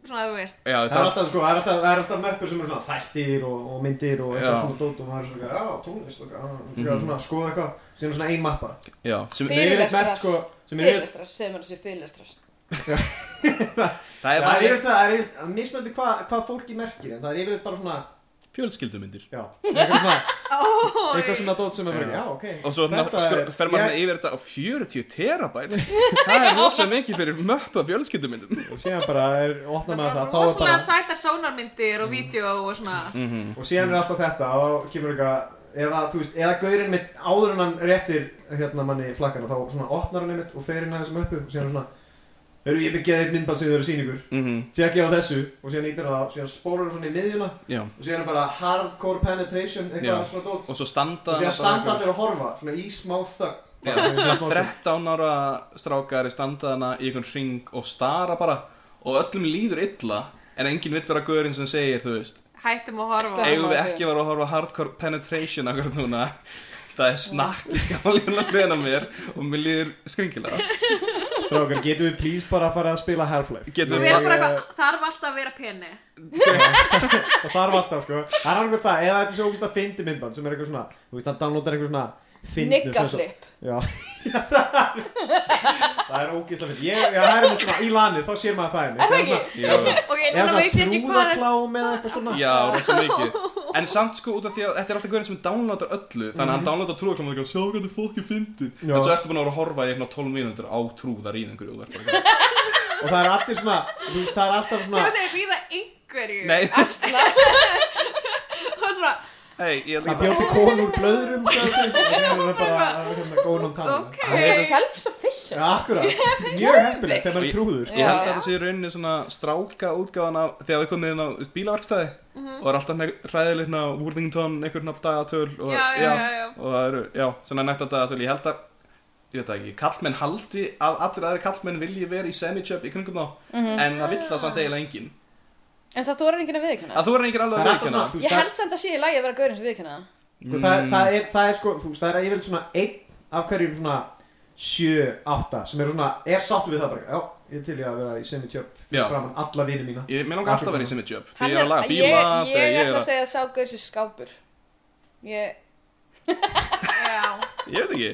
svona þú veist já, Það er alltaf, sko, það er alltaf, það er alltaf möppur sem eru svona þættir og, og myndir og eitthvað Já. svona dót og það er svona, já, tónlist og eitthvað, mm Mhm. svona, skoða eitthvað, sem er svona ein mappa. já, sem, Sem er yfirleitt Fyrirlestrar. merkt, sko, sem er yfirleitt- Fyrirlestrar, segjum hann að sé fyrirlestrar. það er Það er bara yfirleitt, það er yfirleitt, mismöndi hvað hva fólki merkir, en það er yfirleitt bara svona, fjölskyldumyndir já, eitthvað svona, oh, eitthvað svona dót sem er bara, Já. já, ok. og svo na, þetta skr, er- fer maður ég- yfir þetta á 40 terabæt það er rosa mikið fyrir möppa fjölskyldumyndum Og síðan bara er, opna maður það, þá er rosalega bara, Mm. sætar sónarmyndir og vídeo og svona Mhm. og síðan er alltaf þetta, og þá kemur eitthvað, eða, þú veist, eða gaurinn mitt áður en hann réttir, hérna, manni flakkana, þá svona opnar hann einmitt og fer inn að þessum uppu, og síðan er svona, Hörru, ég byggjaði eitt myndband sem þau eru að sína ykkur. Mhm, síðan ekki á þessu og síðan ítir það síðan spórar það svona í miðjuna já. og síðan er bara hardcore penetration eitthvað Já. svona dót og svo standa og síðan standa allir að horfa svona í smá þögg bara, í smá þögn. 13 ára strákar er standaðana í einhvern ring og stara bara og öllum líður illa en enginn vill vera gaurinn sem segir þú veist hættum að horfa Slá. eigum við maður ekki að vera að horfa á hardcore penetration akkur núna það er snakk í skálinu að leina mér og mér líður skringilega strákar getum við please bara að fara að spila Half-Life Getum Þú við vera bara eitthvað, þarf alltaf að vera penni og það er alltaf sko það er alveg það eða þetta er svo ógust að fyndi myndband sem er eitthvað svona þú veist hann downloadar eitthvað svona fyndnu sem er svo- Niggaflip. Já, það er ógislega fyrir Ég, já, það er með svona í lanið, þá sér maður það Er einmitt. það er ekki? svona- Já. ok, Eða núna svona veit ég ekki hvað er trúðaklám eða eitthvað svona Já, rosa mikið En samt sko út af því að þetta er alltaf gaurinn sem downloadar öllu Þannig að hann downloadar trúðaklum og það er Sjá hvað þið fólki fyndi Já. En svo ertu búin að vera að horfa í eitthvað 12 mínútur á trúðar í einhverju og verður bara Og það er allir svona, þú veist, það er alltaf þú svona segir ríða einhverju Nei, og svona, hei, ég er Ég líka bjóti konu úr blöðrum sagði þú, og það er hérna bara góðan á tannin ok Self-sufficient. Já, akkurat, mjög heppilegt þegar maður er trúður Ég held Já. að þetta sé í rauninni svona stráka útgáðan af þegar við komum inn á bílaverkstæði Mhm. og er alltaf hræðilegt hérna Worthington, einhvern nafn dagatöl og, já, já, já, já og það eru, já, svona nættan dagatöl ég held að, ég veit það ekki, kallmenn haldi að allir aðri kallmenn vilji vera í semi-chub í kringum þá, Mhm. en það vill það samt eiginlega enginn, En það þorir enginn að viðkynna. að þú er enginn alveg að Það er alltaf veikina svona, þú Ég veist, það- held samt að sé í lagi að vera gaurinn sem viðkynna það. sko, Mm. það- það er, það er sko, þú veist, það er að ég vil svona einn af hverjum svona sjö, átta, sem eru svona, er sáttu við það bara, já, ég er til ég að vera í semi-tjöp Já. framan alla vini mína Ég, mér langar alltaf að vera í semi-job Þegar Hann ég er að laga bíla ég, þegar ég ég, ætla að er segja að sá gaur sem skápur. Ég, Já. að Ég veit ekki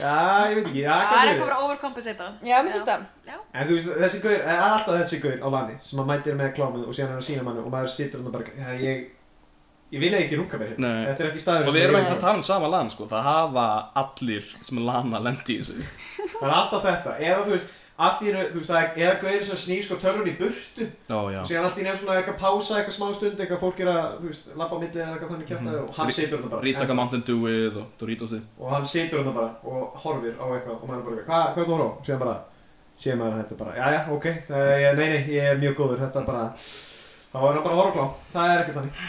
Já, ég veit ekki, já, það er gæti eitthvað verið bara overcompensata já, mér finnst það. En þú veist, þessi gaur, það er alltaf þessi gaur á lani sem maður mætir með klámið og síðan er að sína manni og maður situr hann bara, já, ég, ég vil ekki runga mér, hérna." Nei. þetta er ekki staður Og við erum ekkert að tala um sama land sko Það hafa allir sem lana lendi í þessu Það er alltaf þetta, eða þú veist, allt í hennu, þú veist, það er, eða gauðir sem snýr sko tölvun í burtu Ó já og síðan allt í hennu er svona eitthvað pása, eitthvað smá stund, eitthvað fólk er að, þú veist, labba á milli eða eitthvað þannig kjartaði og hann Rí- situr hann bara Rístaka Mountain Dewið og Doritosið Og hann situr hann bara og horfir á eitthvað og maður er bara, eitthvað, hvað, hvað er það að horfa á? Síðan bara, sé maður þetta bara, já já, ok, það, ég, nei nei, ég er mjög góður, þetta bara, þá er það bara horfglá, það er ekkert þannig.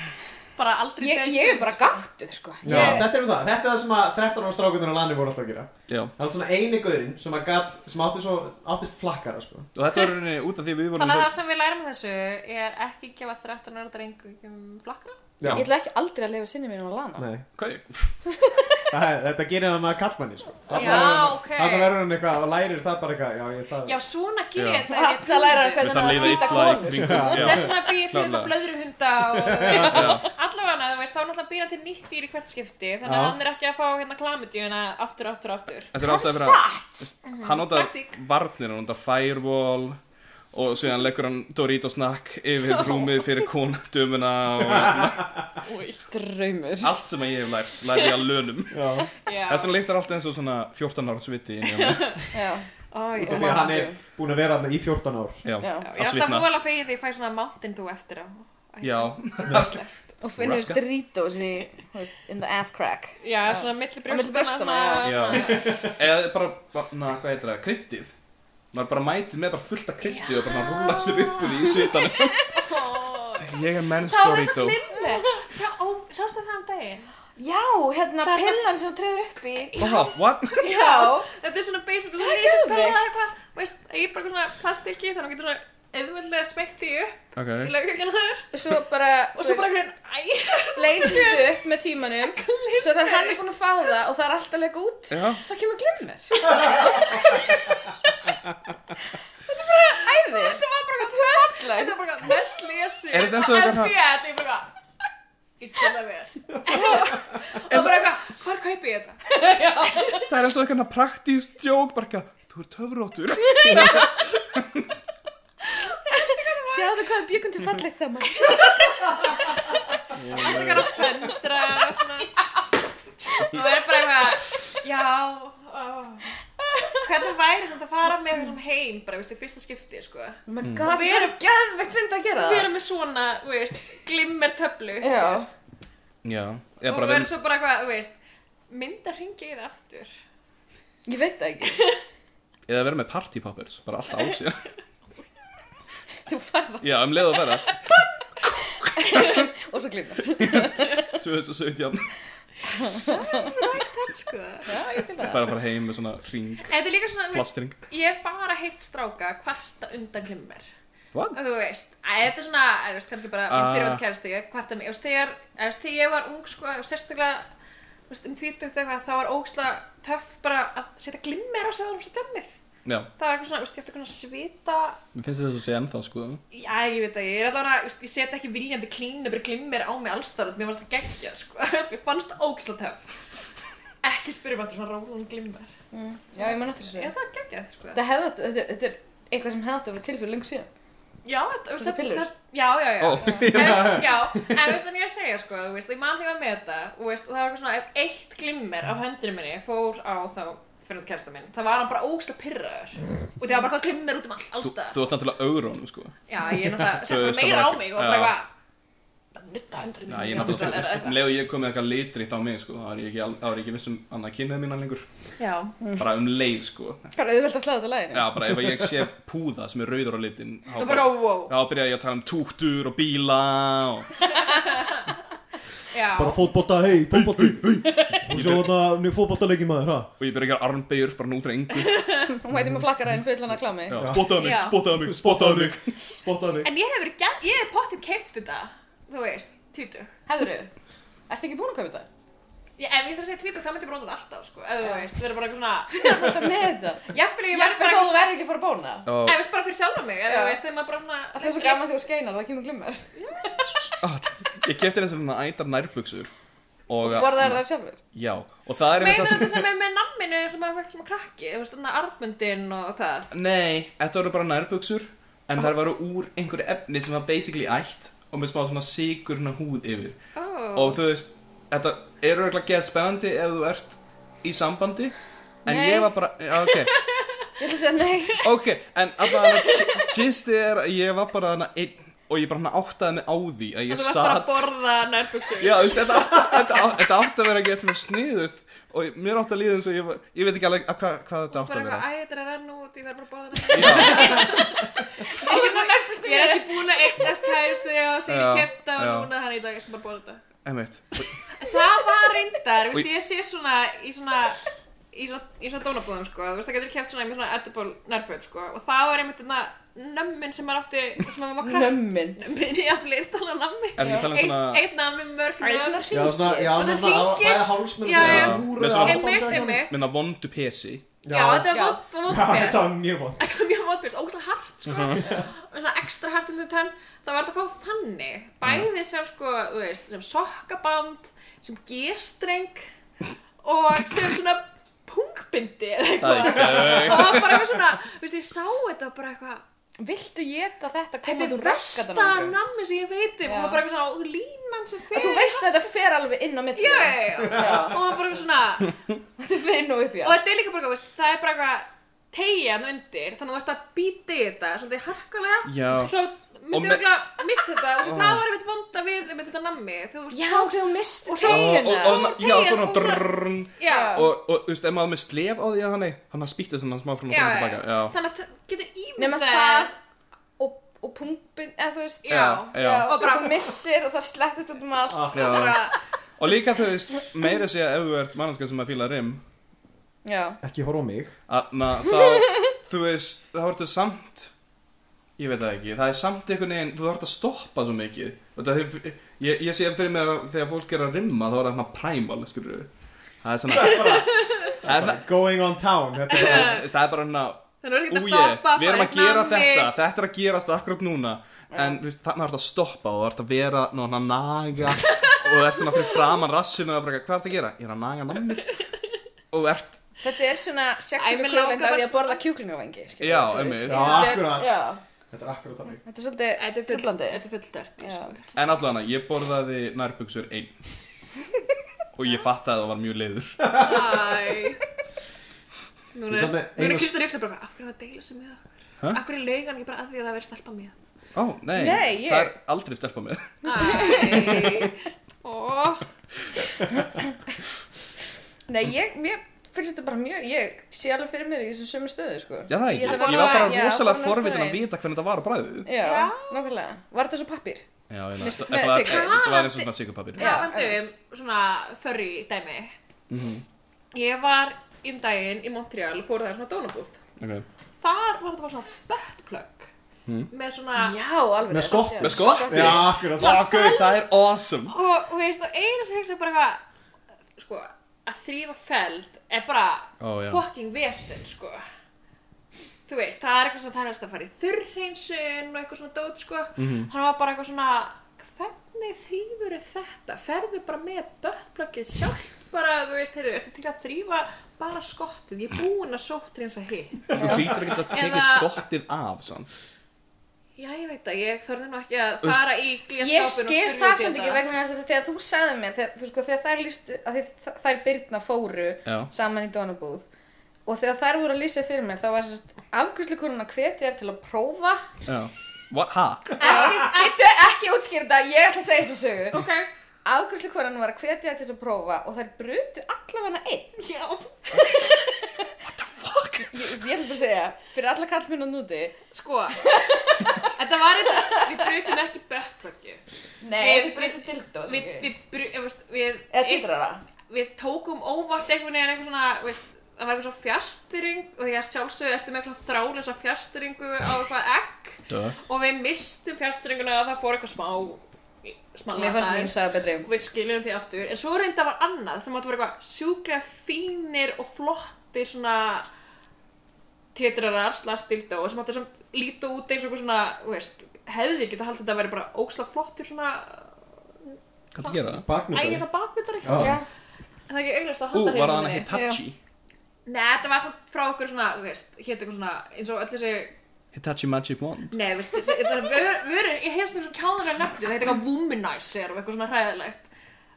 Bara aldrei Ég, deyðst ég er út, bara sko. gáttuð, sko. Já. Ég, Þetta er um það, þetta er það sem að 13 ára strákunnir á landi voru alltaf að gera. Já, Það er svona eini gaurinn sem að gat, sem átti svo, átti flakkara, sko. og þetta var rauninni út af því við vorum Þannig að það sem við lærum af þessu er ekki gefa 13 ára drengum flakkra. Já. ég ætla ekki aldrei að lifa sinni mínum að lana. Nei, Hvað ég? það, er- þetta gerir hann að kallmanni, sko. Þarna Já, verður hann- ok. Þarna verður hann eitthvað og lærir það bara eitthvað, já, ég er það. Já, svona ger Já. ég þetta. Það, ef ég það læra púði. hvernig það að leiða hýta illa í konur, sko. kringum. Þess vegna býr til þess að Nákvæmlega. blöðruhunda og Já, allavega, þú veist, þá náttúrulega býr hann til nýtt dýr í hvert skipti þannig Já. að hann er ekki að fá hérna klamidíuna aftur, aftur, aftur þetta er ástæði fyrir að hann notar Praktík. varnir, hann notar firewall og síðan leggur hann Doritos snack yfir rúmið fyrir konadumuna og Draumur. allt sem ég hef lært, lærði ég að lönum. Já. Já, Þess vegna lyktar allt eins og svona 14 ára sviti inn í hann. Já. Ó, ég- Út af því að hann er búin að vera hann í 14 ár. Já, Já. Já, ég að er alltaf svitna. vola fegin þegar ég fæ svona Mountain Dew eftir á Já, Og finnur Raska. Doritos í, þú veist, in the ass crack. Já, Já. svona milli milli brjóstana brjóstanna, svona- já. svona- eða bara, na, hvað heitir það, kryddið. Maður bara mætið með bara fullt af kryddið og bara rúla sér upp úr því í svitanum. Ó, Ég er menns Það var eins Dorito. og klinni Sá, ó, Sástu það um daginn? Já, hérna Það er það- pillan sem hún treður upp í. Wow, what? Já. Þetta er svona basic Það er er þessi spela geðveikt. eitthvað Veist, ég er bara eitthvað svona plastikki Þannig að hún getur svona auðveldlega smekt því upp Ok. Í lögkjökjana þar Svo bara, Og svo bara hvernig Æ, leysist upp með tímanum. Svo þegar hann er búinn að fá það og það er alltaf leik út. Já, Það kemur glimmur. Þetta er bara æði. þetta var bara eitthvað tvöld Þetta Þetta var bara eitthvað mest lesi Er þetta eins og eitthvað- NBL, ég er bara eitthvað Ég skilða mér Og bara eitthvað, hvar kaupi ég þetta? það er eins og eitthvað praktíst jók, bara eitthvað, þú er töfróttur. Sjáðu hvað við byggum til fallegt saman. Þetta er eitthvað að pendra og svona Og það er bara eitthvað Já, ó Hvernig væri samt að fara með þessum heim bara, veist, í fyrsta skipti, sko Oh my god, Við við erum erum- geðveikt fyndið að gera Við það. erum með svona, þú veist, glimmertöflu Já, Já, eða Og bara við erum við... svo bara eitthvað, þú veist Mynda hringi í það aftur ég veit það ekki. Eða vera með party poppers, bara alltaf á sér. Þú farð það Já, um leið að vera, og svo glimmur. 2017, Næst það, sko Já, ég fylg fara að fara heim með svona ring, En þetta er líka svona, þú veist, plastring. Ég hef bara heyrt stráka kvarta undan glimmer What? Þú veist, að þetta er svona, að þú veist, kannski bara minn Ah. fyrirvænt kærasti, ég kvarta mig Þú veist, þegar, þú veist, þegar ég var ung, sko, og sérstaklega þú veist, um 20 eitthvað, þá var ógislega töff bara að setja glimmer á sig á þessu dömmið Já, Það var eitthvað svona, þú veist, ég eftir eitthvað svita mér finnst þetta svo sé ennþá, sko. Já, ég veit að ég er allavega, þú veist, ég set ekki viljandi klínur bara glimmer á mig allstar Mér fannst það geggja, sko, mér fannst það ógislega töff Ekki spyrjum eftir svona rólan glimmer Mm. Já, ég man eftir Ég þessu. þetta var geggjað, sko Þetta hefði, þetta, þetta er eitthvað sem hefði átt að vera til fyrir lengur síðan. Já, þetta, Svona pillur? það- Já, já, já Ó, en, Já, en veist þannig að segja sko þú veist, ég man því að með þetta þú veist, og það var eitthvað svona, ef eitt glimmer af höndinu minni fór á þá fyrir kærasta minn, það var hann bara ógslag pirraður og það var bara eitthvað glimmer út um all, þú, allstað þú ert náttúrulega augrónum, sko. Já, ég er náttúrulega, Þú settur veist, meira á það var mig ekki- og bara já. eitthvað það nutta höndinu Já, minni ég í andlitið, náttúrulega, þú veist, eða um leið og ég kom með eitthvað litríkt á mig, sko, þá er ég ekki, al- þá er ég ekki viss um annað kynnið mínan lengur. eitthvað. Já, Bara um leið, sko. Það er auðvelt að slá þetta læginu. Já, bara ef ég sé púða sem er rauður á litin, þá það bara, bara, wow þá byrja ég að tala um túktur og bíla og... Já, Bara fótbolta, hei, fótbolta, hei, og svo þarna fótboltaleiki maður, ha? Og ég byrja að gera armbeigur bara nútra engu. Hún mæti með flakkaræðin fullan að klámi. Já, spottaðu mig, Já. spottaðu mig, spottaðu mig. Spottaði mig. en ég hef verið, gæ- ég hef pottið keift þetta þú veist, tvítu Hefður Ertu ekki búin að kaupa þetta? Já, ef ég þarf að segja Twitter, það myndi ég bara nota þetta alltaf, sko, ef þú Já. veist, vera bara eitthvað svona, Þú er alltaf með þetta. jafnvel ég verði Jafnvel þó bara þú eitthvað, verður ekki að fara að bóna. Ó, ef þú veist bara fyrir sjálfa mig, ef Já. þú veist, þegar maður bara svona, Það er svo gaman þegar þú skeinar, það kemur glimmar. ah, Ég kefti þessum svona ætar nærbuksur og, Borðar það sjálfur. Já, og það er meina einmitt þetta sem er með namminu sem maður fekk sem krakki, þú veist, þannig að armbundin og það, Nei, þetta voru bara nærbuksur En þær voru úr einhverju efni sem var basically ætt Og með smá svona sigurna húð yfir ó, Og þú veist, þetta eru eiginlega geð spennandi ef þú ert í sambandi En Nei. ég var bara, já, ok, Ég ætla að segja nei. ok En allavega, gistið er að ég var bara þarna einn og ég bara hann áttaði mig á því að ég Þú varst bara að satt borða nærbuksur Já, þú veist, þetta átti, þetta, á- þetta átti að vera ekki eitthvað sniðut og ég- mér átti að líða eins og ég, var- ég veit ekki alveg að hva, hvað þetta átti Bara að vera eitthvað, æ, þetta er að renna út, ég verð bara að borða þetta Já, Ég er ekki- ég er ekki búin að eignast kæristu og sér Já, ég kefta og já. núna þannig í dag, ég skal bara borða þetta einmitt Það var reyndar, þú veist, ég sé svona í svona í svona, í svona dónabúðum, sko, þú veist, það getur kæft svona með svona edible nærföt, sko, og það var einmitt þetta nömmin sem maður átti, sem maður var krakk Mömmin. nömmin, já, fleiri tala um nammi Er ekki talað um svona Eitt nammi, mörg Það er svona nömm Já, svona, já, Svona svona, svona, hringir. bæði hálsmenn Já, já. Með húrið svona- Einmitt, einmitt minna vondu pesi Já, Já. þetta var vont- var Já, vondbjörn þetta var mjög vond Þetta var mjög mótbjörn, ógæslega hart sko og svona ekstra hart um þau tönn það var þetta að fá þannig bæði sem sko, þú veist, sem sokkaband sem g-streng og sem svona pungbindi eða Það er eitthvað ekki og það var bara eitthvað svona, þú veist, ég sá þetta og bara eitthvað, Viltu geta þetta þetta koma er þú versta raskatann á okkur? nammi sem ég veit Já. um og það var bara eitthvað svona, og línan sem Að fer Þú veist að þetta fer alveg inn á milli. yeah. og Já. það var bara eitthvað svona Þetta fer inn og upp, já. og þetta er líka bara, eitthvað, veist, það er bara eitthvað tegjan undir, þannig að þú ert að býta í þetta svolítið harkalega Já. svo Og myndi me- Ah. við að missa þetta og það var einmitt vonda við um þetta nammi þú veist, Já, þá- þegar hún misti Og svo- Og, og, teguna. og, Og já, tegin þú erum kom svona- drrrrn já, Já. Og, og, þú veist, ef maður er með slef á því að hann er hann spýtti svona smá frá og já, frá já. tilbaka Já, þannig að það getur Nefna ímyndað það og, og pumpin, eða þú veist. Já. já, Ah. já. og Og bara- þú missir og það slettist út um allt. Já. og bara, Og líka þú veist, meira sé að ef þú ert mannskjöld sem að fíla rim já. Ekki horfa á mig Anna, þá, þú veist, þá ertu samt Ég veit það ekki, það er samt einhvern veginn, þú þarf að stoppa svo mikið Þetta, er- ég, ég sé fyrir mér að þegar fólk er að rimma þá er það svona primal, skilur Það er svona, það er, Bara Going on town Þetta er bara það er bara svona þannig að þú Újé, ert að stoppa við erum fara að í gera nammi. þetta, þetta er að gerast akkurat núna En þú veist, þarna ertu að stoppa og þú ert að vera, ná, hann að naga Og þú ert svona fyrir framan rassinu og bara, hvað ertu að gera? Ég er að naga nammið Og þú ert, Þetta er svona Æ, sexual mér equivalent af langar því bara að svona- borða kjúklingavengi skilur Já, við, þú veist. einmitt. Já, Þetta er- akkurat. já. Þetta er akkurat þannig Þetta er svolítið þetta er Fyllandi. fullandi þetta er sko. fulldört Já. En allavega, ég borðaði nærbuksur einn Og ég fattaði að það var mjög leiður Æ. Þú núna veist, þarna núna einu- Kristur Ríksa bara, af hverju er hann að deila sem ég Hæ? af hverju laug hann ekki bara að því að það verið stelpa mér Ó, nei, Nei, ég- það er aldrei stelpa með Æ, ó, Nei, ég, mér finnst þetta bara mjög Ég sé alveg fyrir mér í þessum sömu stöðu sko. Já, það ekki, ég, þarf að var bara borða- já, rosalega borða forvitin að nærfötin. vita hvernig þetta var á bræðu Já, Já. nákvæmlega Var þetta svo pappir? Já, ég Nei, veist, nei, þetta var- Sigga. þetta var eins og svona sigurpapir Já, Já, andum um svona furry dæmi Ég var um daginn í Montreal og fór það í svona dónabúð okay. Þar var þetta bara svona buttplug með svona Já, alveg Með skopp. Já. Með skotti Já, akkurat Vá, guð, það er awesome og þú veist, og eina sem ég hugsaði bara eitthvað sko, að þrýfa feld er bara Ó, já. fucking vesen, sko þú veist, það er eitthvað sem það er helst að fara í þurrhreinsun og eitthvað svona dót, sko Mhm. hann var bara eitthvað svona hvernig þrýfur þetta ferðu bara með bötplöggið sjálf bara, þú veist, heyrðu, ertu til að þrýfa bara skottið, ég er búin að sóttreinsa hitt Þú hlýtur ekki að tekið Eða- skottið af samt. já, ég veit það, ég þorði nú ekki að Þú veist, fara í glíðaskápin Ég skil það samt ekki vegna þess að þegar þú sagði mér þegar, þú sko, þegar þær, lístu, að þið, þær Birna fóru Já. saman í Donabúð og þegar þær voru að lýsa fyrir mér þá var afgjörsleikurinn að hvetja þær til að prófa Já What, ha? ekki, Ættu ekki útskýrða, ég ætla að segja þessu sögu ok, Afgjörsleikonan var að hvetja þær til þess að prófa og þær brutu allavega einn já Fuck Ég, ég ætla bara að segja, fyrir alla kallminn að núti Sko, þetta var þetta, við brutum ekki bötplöggju. Nei, Við- þau brutu dildó Við, við, bru, ég veist, við, Eða títrara við tókum óvart einhvern veginn eitthvað svona, veist, það var eitthvað svona fjastring og því að sjálfsögðu ertu með eitthvað þráleisa fjastringu á eitthvað egg Duh. og við mistum fjastringuna og það fór eitthvað smá, smá Mér fannst mín sagði betri og við skiljum því aftur en svo reynda var annað sem áttu að vera eitthvað sjúklega fínir og flottir svona tétrarar slags dildó sem áttu samt líta út eins og eitthvað svona þú veist, hefði geta haldið þetta að vera bara óksla flottur svona Hvað það gera það? Baknútur ægir það bakmyndar ekki Já. Já, en það er ekki auglast að Ú, handa var það hann minni. ekki Hitachi? Nei, þetta var samt frá okkur svona, þú veist, hétt eitthvað svona eins og öll þessi, Hitachi Magic Wand? nei, veist, þessi- þetta er vörur, ég hefst eitthvað svona kjáðan að nefndu, það heit eitthvað womanizer og eitthvað svona hræðilegt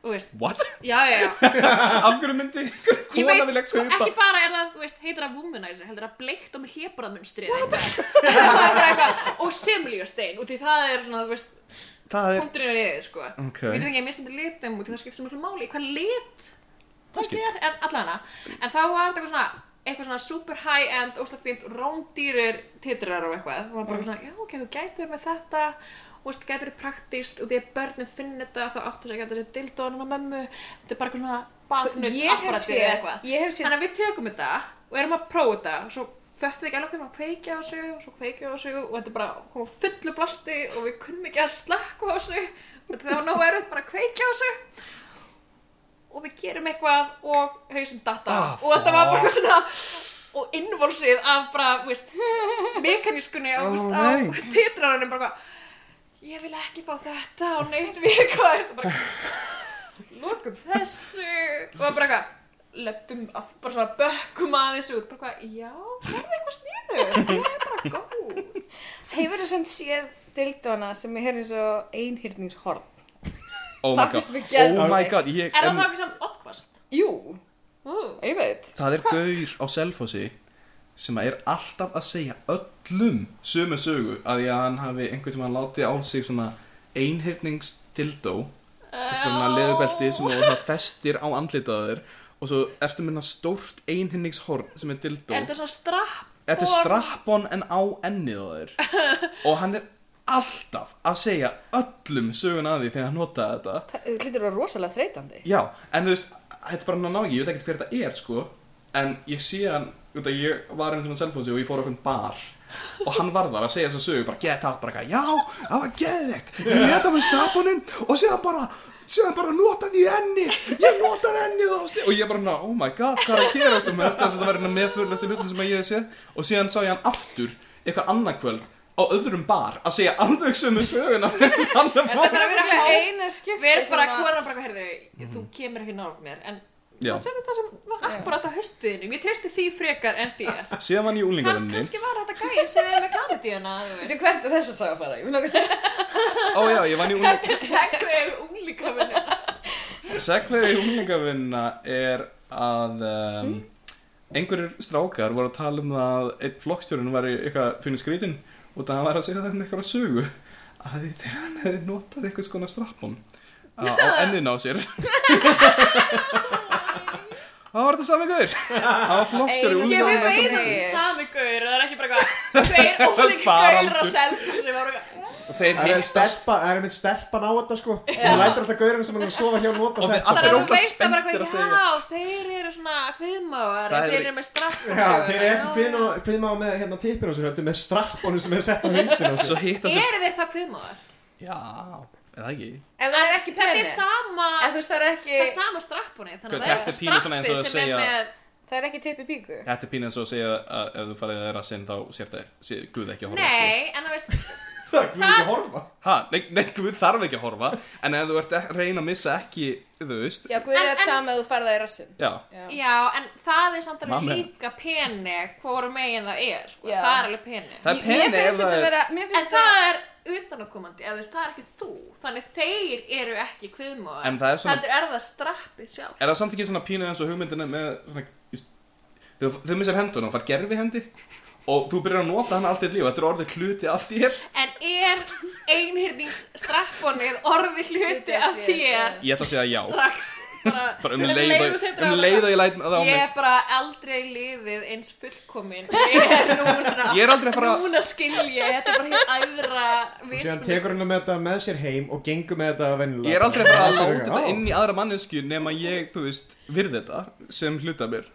þú veist, What? já, já, já. Af hverju myndi ykkur Ég kona vilja sko, kaupa? ekki bara er það, þú veist, heitir það womanizer, heldur það bleikt og með hlébraðmunstri eða eitthvað. Það er bara eitthvað, og semlíustein, og því það er svona, þú veist, Það er... punkturinn er yfir, sko. Ok. Við veitum ekki að mismyndi litum og það skiptir svo miklu máli í hvað lit Það það skiptir. er, en allavega en þá var þetta eitthvað svona eitthvað svona super high end, óslega fínt rándýrir titrar og eitthvað og maður bara svona, já ok, þú gætur með þetta og veist, gætur þið praktíst og því að börnum finn þetta þá áttur þess að gætur þið dildóðanum á mömmu þetta er bara eitthvað svona Sko, baknut ég hef apparatið séð, eitthvað ég hef séð þannig að við tökum þetta og erum að prófa þetta og svo föttum við ekki alveg hvernig að kveikja á þessu og svo kveikja á þessu og þetta er bara kom á fullu blasti og við kunnum ekki að slakka á þessu og þetta var nógu erfitt bara að kveikja á þessu og við gerum eitthvað og hausum data Ah, og þetta var bara fuck. eitthvað svona og innvolsið af bara, veist, mekanískunni á, Oh, veist, nei. á titrarunum bara eitthvað ég vil ekki fá þetta á neitt vika þetta bara lokum þessu og það bara eitthvað löpum, af- bara svona bökkum aðeins út bara eitthvað, já, það er eitthvað sniðu það er bara góð Hefur það sem séð dildóna sem er hérna eins og einhyrningshorn? Oh my Það finnst mér god, oh geðveikt. my god, ég... er það en- þá ekki samt oddkvast? Jú, Uh. ég veit. Það er gaur á Selfossi sem er alltaf að segja öllum sömu sögu að því að hann hafi einhvern tímann látið á sig svona einhyrningstildó eftir hann leðubelti sem að það festir á andlitaður og svo ertu með hann stórt einhyrningshorn sem er dildó er þetta svona strapp Þetta er strappon en á ennið á þér og hann er alltaf að segja öllum sögun að því þegar hann notaði þetta Það það hlýtur að vera rosalega þreytandi. Já, en þú veist, þetta er bara hann að ná ekki, ég veit ekkert hver þetta er, sko En ég sé hann, þú veit að ég var einn svona selfónsi og ég fór á okkur bar Og hann var þar að segja þess að sögu, bara get out, bara eitthvað Já, það var geðveikt, ég leta með stafuninn og séðan bara Séðan bara notaði ég enni, ég notaði enni þá sti- Og ég bara, ná, oh my god, hvað er að gerast Og mér eftir þess að þetta var einn meðförlustu hlutin sem ég hef séð Og síðan sá ég hann aftur, eitthvað annarkvöld á öðrum bar að segja alveg sömu söguna fyrir hann Það er er bara bara hálf- eina skipti við erum bara sem að að- kora bara eitthvað, heyrðu, þú kemur ekki nátt mér en Já. þú segir þetta sem var akkurat á höstuðinum ég treysti því frekar en því Síðan var hann í Kanns, úlingavinni kannski var þetta gæinn sem er með gamadíuna þú veist Veitu hvert er þess að saga fara? Ég vil okkur... Ó já, ég var hann í úlingavinni Þetta er segreið unglíkavinni Segveið í unglingavinna er að um, Hmm? einhverjir strákar voru að tala um það að einn flokkstjórinn var eitthvað fyrir skrýtin og það var að segja þetta eitthvað sögu að því þegar hann hefði notað eitthvað skona strappum uh, á, á ennin á sér Það var þetta sami gaur Það var flokkstjóri Einu Ég Sama- veit að sama- það sama- er sami gaur það er ekki bara eitthvað tveir unglíkaur á Faraldur. selfur sem var eitthvað Þeir Það er einmitt hittast stelpa, það er einmitt stelpan á þetta sko Hún lætur alltaf gaurinn sem hann er að sofa hjá að nota Og við þetta allir- Þannig að er þú ógeðslega veist það bara spenntir að eitthvað, segja. já, þeir eru svona kviðmáðar, Það þeir er- eru með strapp Já, þeir eru ekki kvinn og kvinn má með hérna tippir á sér heldur með strappbónu sem er sett á hausin á sér Svo hittast þeir Eru þeir það kviðmáðar? Já, er það ekki? Ef það er ekki Þetta penni. er sama, En þú veist það er ekki... það er sama strappunni, þannig að Þetta það er er pínu svona eins og strappið að sem er segja- með Það er ekki tippi píku. Þetta er pínu eins og að segja að ef þú farið að þeirra sinn þá sér þær, sér Guð ekki að horfa sko. Nei, en það veist, Það er kvinn ekki að horfa Ha, nei, nei, Guð þarf ekki að horfa En ef þú ert að reyna að missa ekki, þú veist Já, Guð En- er en- sama að þú farða í rassin. Já, já, en það er samt alveg Mamma. líka peni hvora megin það er, sko, Já. það er alveg peni Það er Ég- Mér peni ef finnst það þetta er- vera... Mér En finnst það er utanakomandi, eða þú veist, það er ekki þú, þannig þeir eru ekki kviðmáðar En það er svona- Heldur er það strappið sjálf er það samt ekki svona pínu eins og hugmyndina með svona, just, Þegar þú- þú missar hendun og far gerfi hendi Og þú byrjar að nota hana allt í líf Þetta er orðið kluti af þér En er einhyrningsstrapponið orðið hluti Hluti af af þér, þér Ég ætla að segja já strax bara, Bara um leið þú og setur á um hana- leið og ég læt það á Ég mig er bara aldrei liðið eins fullkomin Ég er núna Ég er aldrei að fara- Núna skil ég, þetta er bara hér æðra sko, Og síðan tekur hann með þetta með sér heim og gengur með þetta venjulega Ég er aldrei að fara að láta þetta inn í aðra mannesku Nefn að ég, þú veist, virð þetta Sem hluta mér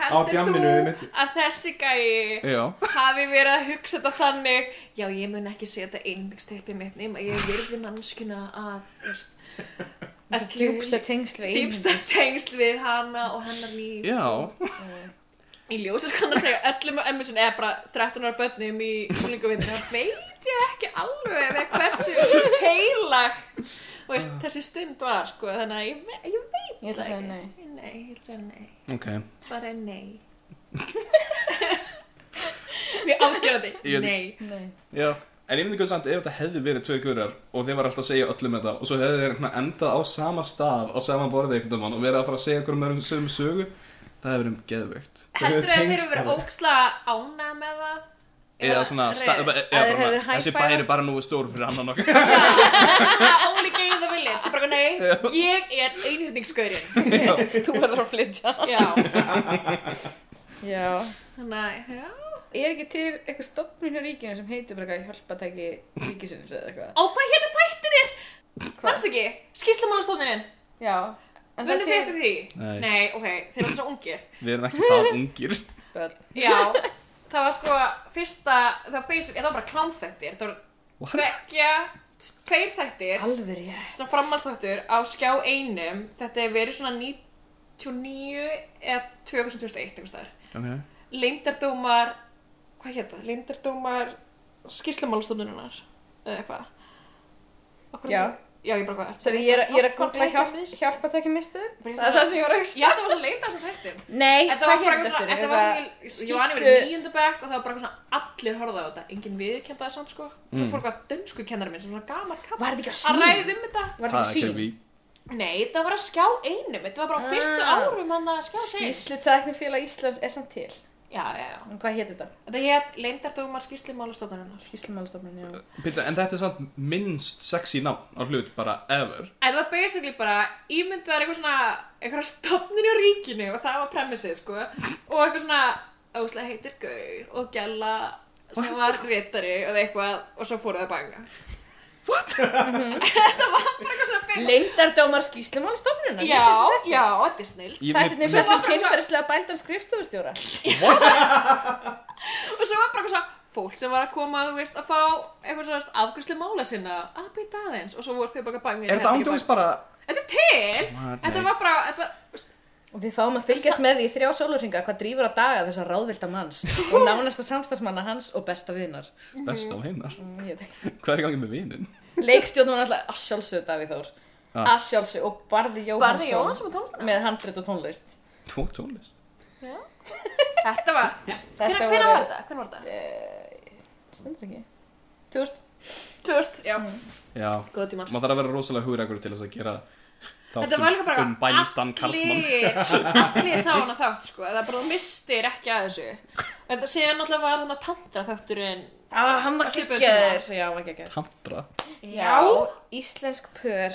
Heldur djamminu, þú einmitt. að þessi gæi Já hafi verið að hugsa þetta þannig Já, ég mun ekki setja einbyggsteypi mitt nema ég virði mannskina að þú veist, öllu- Djúbsta tengsl við djúpsta tengsl við hana og hennar líf Já, í ljósa skan að segja öllum á emmisinn eða bara 13 ára börnum í úlingavindinu þá veit ég ekki alveg með hversu heilag og Ah. veist, þessi stund var sko þannig að ég, ve- ég veit Ég ætla að það segja nei. ekki. nei, ég ætla að segja nei ok bara nei við afgerandi, Ég- nei Nei. Já, En ég myndi hvað samt ef þetta hefði verið tvei gurar og þeir var alltaf að segja öllum þetta og svo hefði þeir einhvern veginn endað á sama stað á sama borðið einhvern veginn og verið að fara að segja okkur um sögum sögu það hefur um geðveikt Heldur að þeir eru tengst verið alveg. óksla ánað með það? eða svona sta- reyð? eða bara- eða Að þeir bara hefðu svona, þessi high-fivað? bæri er bara nú stór fyrir annan okkar Það only gay in the village, ég bara, nei, ég er einhyrningsgaurinn. Þú verður að flytja. Já, Já. þannig að, já. Er ekki til eitthvað stopnun hjá ríkinu sem heitir bara eitthvað hjálpatæki ríkisins eða eitthvað? Ó, hvað hérna þættinir? Vannst ekki? Skýrslamánastofnininn, Já. En munið þið eftir því? Nei. Nei, ok, þeir eru alltaf svo ungir. við erum ekki það ungir Börn. Já, það var sko fyrsta, það var basic, það var bara klámþættir, það var tveggja, tveir þættir, Alveg rétt. svona framhaldsþáttur á skjá einum, þetta hefur verið svona 99 eða 2001 einhvers þar. okay. Leindardómar, hvað hétt það? Leindardómar skýrslumálastofnunar, eða eitthvað. Okkur Já. Já, ég bara hvað er. Sorry, ég er, að- ég er að googla hjálp, hjálpatæki mistu. Það er það sem ég var að hugsa. Já, það var svo leita þessu þættum. Nei, Þetta var bara eitthvað svona, þetta var svona, ég var nefnir nýjöndu bekk og það var bara eitthvað svona allir horfað á þetta, enginn viðkjönda það samt sko. Svo fór eitthvað dönsku kennari minn sem svona gammal kall Var þetta ekki á að sín? ræða um þetta. Var þetta það ekki á er ekki sín? við Nei, þetta var að skjá einum, þetta var bara á fyrstu Ah. árum hann að skjá seint. Skýslutæknifélag Íslands er samt til. Já, já, já. En hvað hétt þetta? Þetta hétt leindardómar skýrslimálastofnunarnas. Skýslumálastofnun, já. Pita, en þetta er samt minnst sexy nafn á hlut bara ever En það var basically bara ímyndaðar eitthvað svona eitthvað stofnir á ríkinu og það var premissið sko og eitthvað svona óslega heitir gaur og gæla sem var réttari og eitthvað og svo fóruð það að banga What? Þetta var bara eitthvað svona big- Leindardómar skýslumálastofnunar? Já, já, þetta er snill Ég- Þetta er mér- fjallum mér- kynferðislega bældan skrifstofustjóra. og svo var bara eitthvað svona fólk sem var að koma, þú veist, að fá eitthvað svona afgjörslu mála sinna að býta aðeins og svo voru þau bara að banga í er þetta herbergi ángjóðis bara bara- Þetta er til! What? Þetta Nei. var bara, þetta var, Og við fáum að fylgjast með því í þrjá sólarringa hvað drífur að daga þessa ráðvilda manns og nánasta samstagsmanna hans og besta vinnar. best á heimnar Mm, ég veit ekki. hvað er í gangi með vinin? Leikstjórnum var alltaf að sjálfsögðu Davíð Þór. Ah. Að sjálfsögðu og Barði Barði Jóhansson, Jóhansson og tónstana. með handrit og tónlist. tók tónlist þetta var, Þetta hvenær hvenær var Mm. þetta? Hvernig var þetta? Stendur ekki. 2000. 2000, já. já mm. Góða tíma. maður þarf að vera rosalega hugrækur til þess að gera Þetta var líka bara um bældan karlmann allir, allir sá hana þátt sko, það er bara þú mistir ekki að þessu. En það séðan alltaf var hann að tantra þátturinn. Ah, hann var Á svipuðum geggjaður. Já, hann var geggjaður. tantra Íslensk pör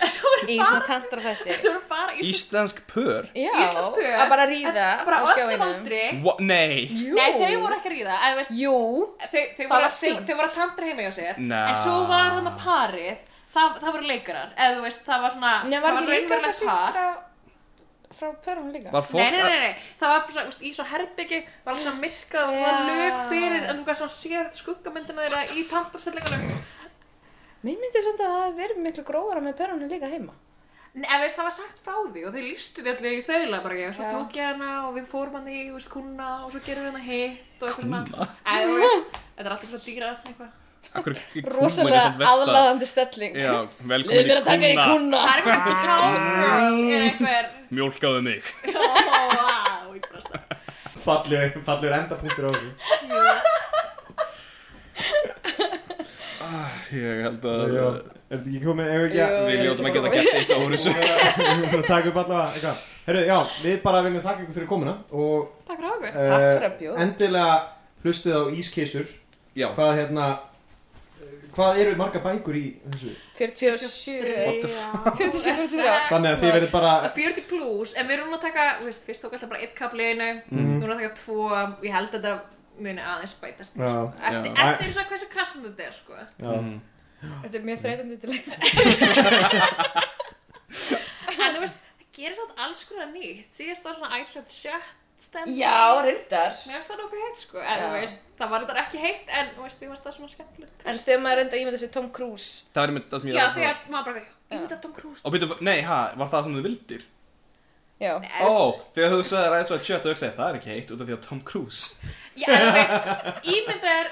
í svona tantrafættir. Þetta voru bara íslensk íslensk pör Já, Íslensk pör. að bara ríða en- bara á á öllum skjáinum. aldri. Wha- nei Jú. Nei, þau voru ekki að ríða, eða veist, Jú. þau, Það þau, voru, var þau, sýnt. þau voru að tantra heima hjá sér. Nah. En svo var hann að parið, það, það voru leikarar, eða þú veist, það var svona, Nei, það var var ekki sko? líka eitthvað raunverulegt sýnt par. frá, frá pörum líka? var fólk Nei, nei, nei, nei, það var svona, veist, í svona herbyggi, var alls svona myrkrað og það var Já. lög fyrir, en þú gæst svona séð skuggamyndina þeirra í tantrastellingunum. Mér myndi samt að það hef verið miklu gróðara með perunni líka heima. Nei, en veist, það var sagt frá því og þau lístu því allir í þaula bara ég, svo Já. tók ég hana og við fórum hana í, þú veist, kuna og svo gerum við hana hitt og eitthvað svona. Kúnna? En þú veist, þetta er alltaf svo dýra eitthvað. Akkur, Rosalega aðlaðandi stelling. Já, velkomin Leðið í mér að taka þér í kúna kuna. Það er eitthvað cowgirl, er eitthvað, Mjólkaðu mig ó, á, ég brasta. Fallegur fallegur endapunktur á þessu Ég held Er að þetta ekki komið, ef ekki að Jú. við ég ljóðum að held að geta gert eitthvað úr Við þessu erum bara að taka upp allavega eitthvað Herru, já, við bara viljum þakka ykkur fyrir komuna og Takk fyrir ákveð. eh, fyrir að bjóða. endilega hlustið á Ískissur Já, hvað hérna hvað eru marga bækur í þessu 47. the 47, 48. þannig að þið verið bara 40 pluss, en við erum núna að taka, þú veist, fyrst tók alltaf bara eitt kapleginu, Mhm. núna að taka tvo, og ég held að þetta muni aðeins bætast. Já, Eftir, Já. eftir svona hversu krassan þetta er, sko. já. Mhm. Þetta er mjög þreytandi til leita. En þú veist, það gerir samt alls konar nýtt. Síðast var svona Ice Shot Shut stemning. Já, reyndar. Mér finnst það nokkuð heitt, sko. En þú Já. veist, það var þetta ekki heitt, en þú veist, mér finnst það svona skemmtilegt. En þegar maður reynda ímynda sér Tom Cruise. það er einmitt það sem ég Já, er að um. þegar maður bara, ég myndi að Tom Cruise. Og býttu, nei, ha, var það sem þú vildir? Já. Ó, þegar þú sagði ræðis og að kjöta og hugsaði Það er ekki heitt út af því að Tom Cruise Já, en þú veist, ímyndað er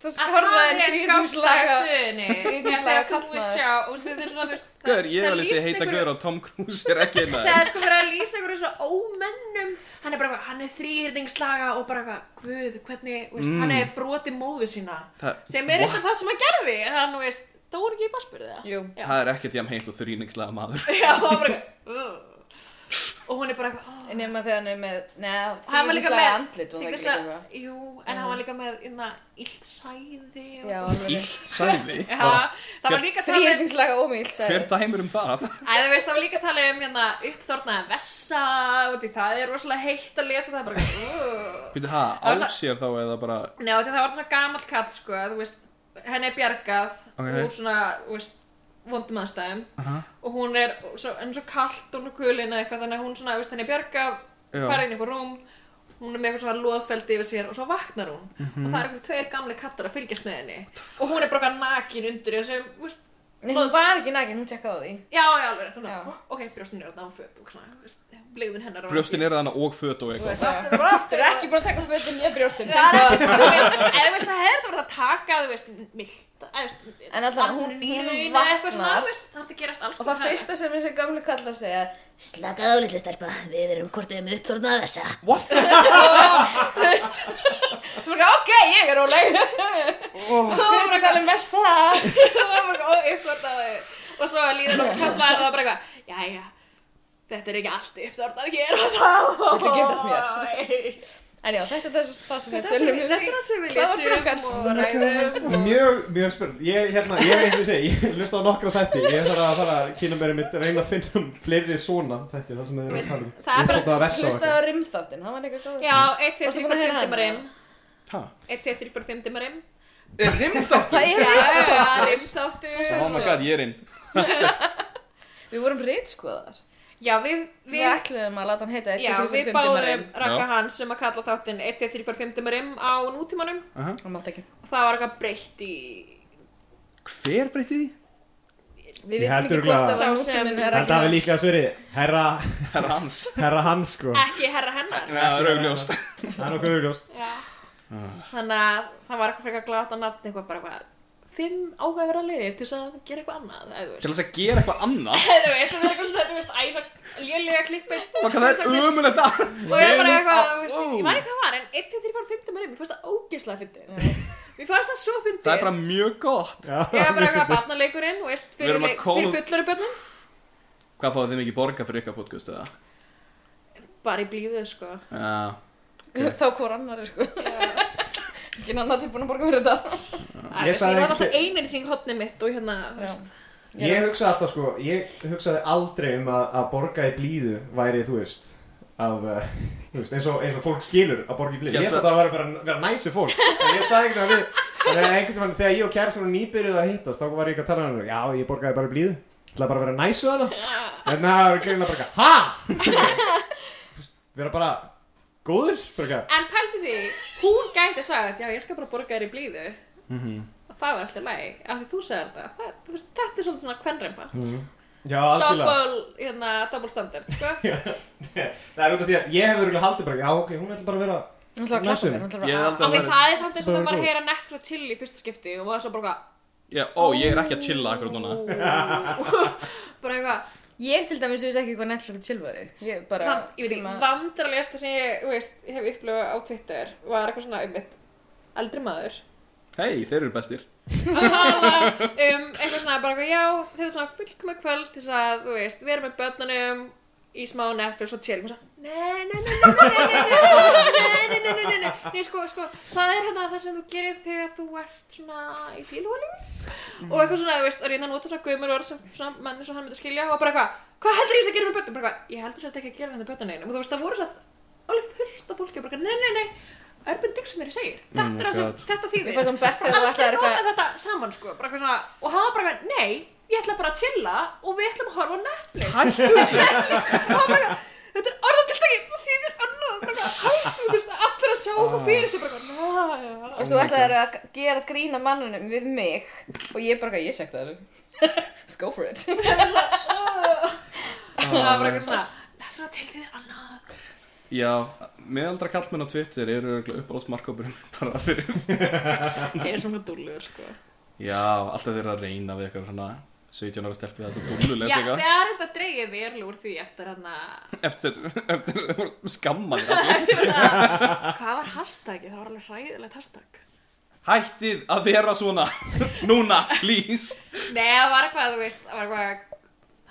Það Að það skorraði er þrýrumslaga. skástastuðinni þríhyrningslaga Þú vilt karlmaður. sjá og þetta er svona þú veist, Gaur, ég það er alveg sé lýst heita einhverju- gaur á Tom Cruise er ekki einn Það er sko verið að lýsa einhverju svona ómennum Hann er bara eitthvað, hann er þrýhyrningslaga og bara eitthvað, guð, hvernig, veist, Mm. hann er broti móðu sína Það- sem er What? eitthvað það sem hann gerði hann, þú veist, það voru ekki í basbyrði það Jú. Já. Það er ekkert jafn heitt og þrýningslega maður Já, það var bara eitthvað "Ugh." og hún er bara eitthvað "Ah." Nefna þegar hann er með, neða, Hann var líka þrýrumslaga með- andlit. hún veit Þrýhyrningslaga- líka hvað. Jú, en hann var líka með innan illt sæði og- Já, alveg. Ílt sæði Já, Bara, það var Hver- líka talað um- Þrýhyrningslaga ómílt, sagði. Hver dæmir um það? Æ, það veist, það var líka að tala um hérna uppþornaðan vessa og því það er rosalega heitt að lesa það er bara "Ugh." Býtu það, á Það var sér þá eða bara Nei, og því það var svona gamall kall, sko, þú veist, henni er bjargað Ok. úr svona, þú veist, vondum aðstæðum Aha, og hún er svo, henni er svo kallt og hún er kulin eða eitthvað, þannig að hún svona, þú veist, henni er bjargað, Já. farið inn í eitthvað rúm, hún er með eitthvað svona loðfeldi yfir sér og svo vaknar hún Mhm. og það er eitthvað tveir gamli kattar að fylgjast með henni og hún er bara eitthvað nakin undir þessu, þú veist, Nei, hún var ekki nakin, hún tjekkaði á því. já, já, alveg, rétt, hún er, Já. ok, brjóstin er að ná föt og svona, þú veist, blegðin hennar á Brjóstin eru þannig og föt og Þú eitthvað veist það. Þú er ekki búin að taka fötin í brjóstin. Það er ekki, en þú veist, það hefði þetta verið að taka, þú veist, mild, að, þú veist, En allan, hún- andinn í hún raun eða vaknar. eitthvað svona, þú veist, það er að gerast alls Og það fyrsta sem þessi gamlu kallar segja, Slaka á litlu stelpa, við erum hvort eða með uppdórnað þessa. þú veist, þú er ekki, ok, ég er óleg. Þú er ekki að tala um vessa. um það var bara uppvartaði og svo líður okkur kallaði og það var bara eitthvað, jæja, þetta er ekki allt uppvartað hér og svo. Viltu giftast mér? En já, þetta er það, það sem við Þetta er tölum um sem- þetta er í- það sem við Það var lesum brúkans. og ræðum. og- um Mjög, mjög spurning Ég, hérna, ég eins og ég segi, ég hlusta á nokkra þætti Ég þarf að fara að kynna mér mitt reyna að finna um fleiri svona þætti Það sem þið eru að tala um það er Ég bara- þarf að Þú veist vessa á það eitthvað var rimþáttin, það var líka góð. Já, 1, 2, 3, Varstu 4, búin að heyra hana? 5 dimarim. Ha? 1, 2, 3, 4, 5 dimarim. Er rimþáttur? Það Já, er já, já, rimþáttin. rimþáttur. Oh my god, ég er inn Við vorum rítskoðar. Já, við, Við við ætluðum að láta hann heita 1, Já, 2, 3, við 5 báðum dimarim. Raka Já. Hans um að kalla þáttinn 1, 2, 3, 4, 5 dimarim á nútímanum Það mátt ekki. og það var eitthvað breytt í Hver breytti því? Við Ég vitum held ekki hvort örugglega- það var Sá sem- nútíminn Þetta eða hafi líka sveri, herra, Það er hans herra hans sko ekki herra hennar Já, það er augljóst Það er nokkuð augljóst Já. Ah. þannig að það var eitthvað frekar glata nafn eitthvað bara eitthvað fimm ágæðverða leiðir til þess að gera eitthvað annað eða þú veist Til þess að gera eitthvað annað Eða þú veist, það var eitthvað svona, þú veist, æ, svo lélega klippið Hvað það er ömulegt að og ég bara eitthvað, þú veist, Wow. ég var ekki hvað var en 1, 2, 3, 4, 5 maður, mér fannst það ógeðslega fyndið mér fannst það svo fyndið Það er bara mjög gott Já, ég var bara eitthvað barnaleikurinn, þú veist, Við fyrir, erum að leik- kóla- fyrir fullari börnum Hvað fáið þið mikið borga fyrir ykkar podcast eða? bara í blíðu, sko Já, Þá hvor annar er sko. Ekki annar tilbúin að borga fyrir þetta. Æ, Ég Ég sagði var ekki- alltaf einir í hótni mitt og hérna, þú veist Ég hugsaði alltaf sko, ég hugsaði aldrei um að, að borga í blíðu væri, þú veist, af, uh, þú veist, eins og, eins og fólk skilur að borga í blíðu. Ég Ég held að það væri bara að vera næsi fólk. En ég sagði einhvern veginn að við, en einhvern veginn þegar ég og kærastur voru nýbyrjuð að hittast, þá var ég eitthvað að tala um hana, já, ég borgaði bara í blíðu. Það er bara að vera næs við hana. En það er greina bara eitthvað, ha? Þú veist, vera bara góður, bara eitthvað. En pælti því, hún gæti sagt, já ég skal bara borga þér í blíðu Mhm. Og það var alltaf læg, af því þú segir þetta það, þú veist, Þetta er svolítið svona kvenremba Já, algjörlega. Double, hérna, double standard, sko Það er út af því að ég hef örugglega haldið bara, já, ok, hún ætla bara að vera Hún ætlar að klappa Næsum. mér, hún ætlar ég bara að... held að Alveg það er það er samt eins og Það það er bara að góð. heyra Netflix og chill í fyrsta skipti Og maður svo bara Já, Ó, ég er ekki að chilla akkur núna eitthvað Bara eitthvað Ég til dæmis vissi ekki hvað Netflix og chill var Ég bara... hérna, Samt, ég veit tíma- ekki, vandralegasta sem ég, þú veist, hef upplöfað á Twitter Var eitthvað svona um eldri maður Hei, þeir eru bestir að tala um eitthvað svona bara eitthvað já, þetta er svona fullkomu kvöld til þess að, þú veist, vera með börnunum í smá Netflix og chill og svona, nei, nei, nei, nei, nei, nei, nei, nei, nei, nei, nei, nei, nei, nei, sko, sko, það er hérna það sem þú gerir þegar þú ert svona í bílhólingu og eitthvað svona, þú veist, að reyna að nota svona gömur orð sem svona manni svo hann myndi skilja og bara eitthvað, hvað heldur ég sé að gera með börnum? Bara eitthvað, ég heldur þetta ekki að gera með börnunum einum og þú veist, það voru svona alveg fullt af fólki og bara eitthvað, nei, nei, nei, Urban Dictionary segir, Oh þetta my er það sem, God. þetta þýðir Mér fannst hún best þegar þú allir ætlaðir nota eitthvað- þetta saman sko bara eitthvað svona, og hann var bara eitthvað, nei ég ætla bara að chilla og við ætlum að horfa á Netflix Hættu þessu og hann bara, eitthvað, þetta er orðatiltæki það þýðir annað, bara eitthvað, hættu þú veist, allir að sjá okkur fyrir sig bara eitthvað, Og svo ætlaði þeir að gera grína mannunum við mig og ég bara, ég sekta þeir. Let's go for it. "Næ." það var bara eitthvað svona þetta er orðatiltæki annað Já, meðaldra kallmenn á Twitter eru uppáhaldsmarkópurum bara fyrir Ég er svona dúllur, sko. Já, alltaf þeir eru að reyna við eitthvað svona 17 ára stelpu þess að dúlulegt Já, eitthvað þegar þetta dreigir verulega úr því eftir hann að... Eftir, eftir þeir voru skammaðir allir. Hvað var hashtagið? Það var alveg hræðilegt hashtag. Hættið að vera svona Núna, please Nei, það var eitthvað, þú veist, það var eitthvað...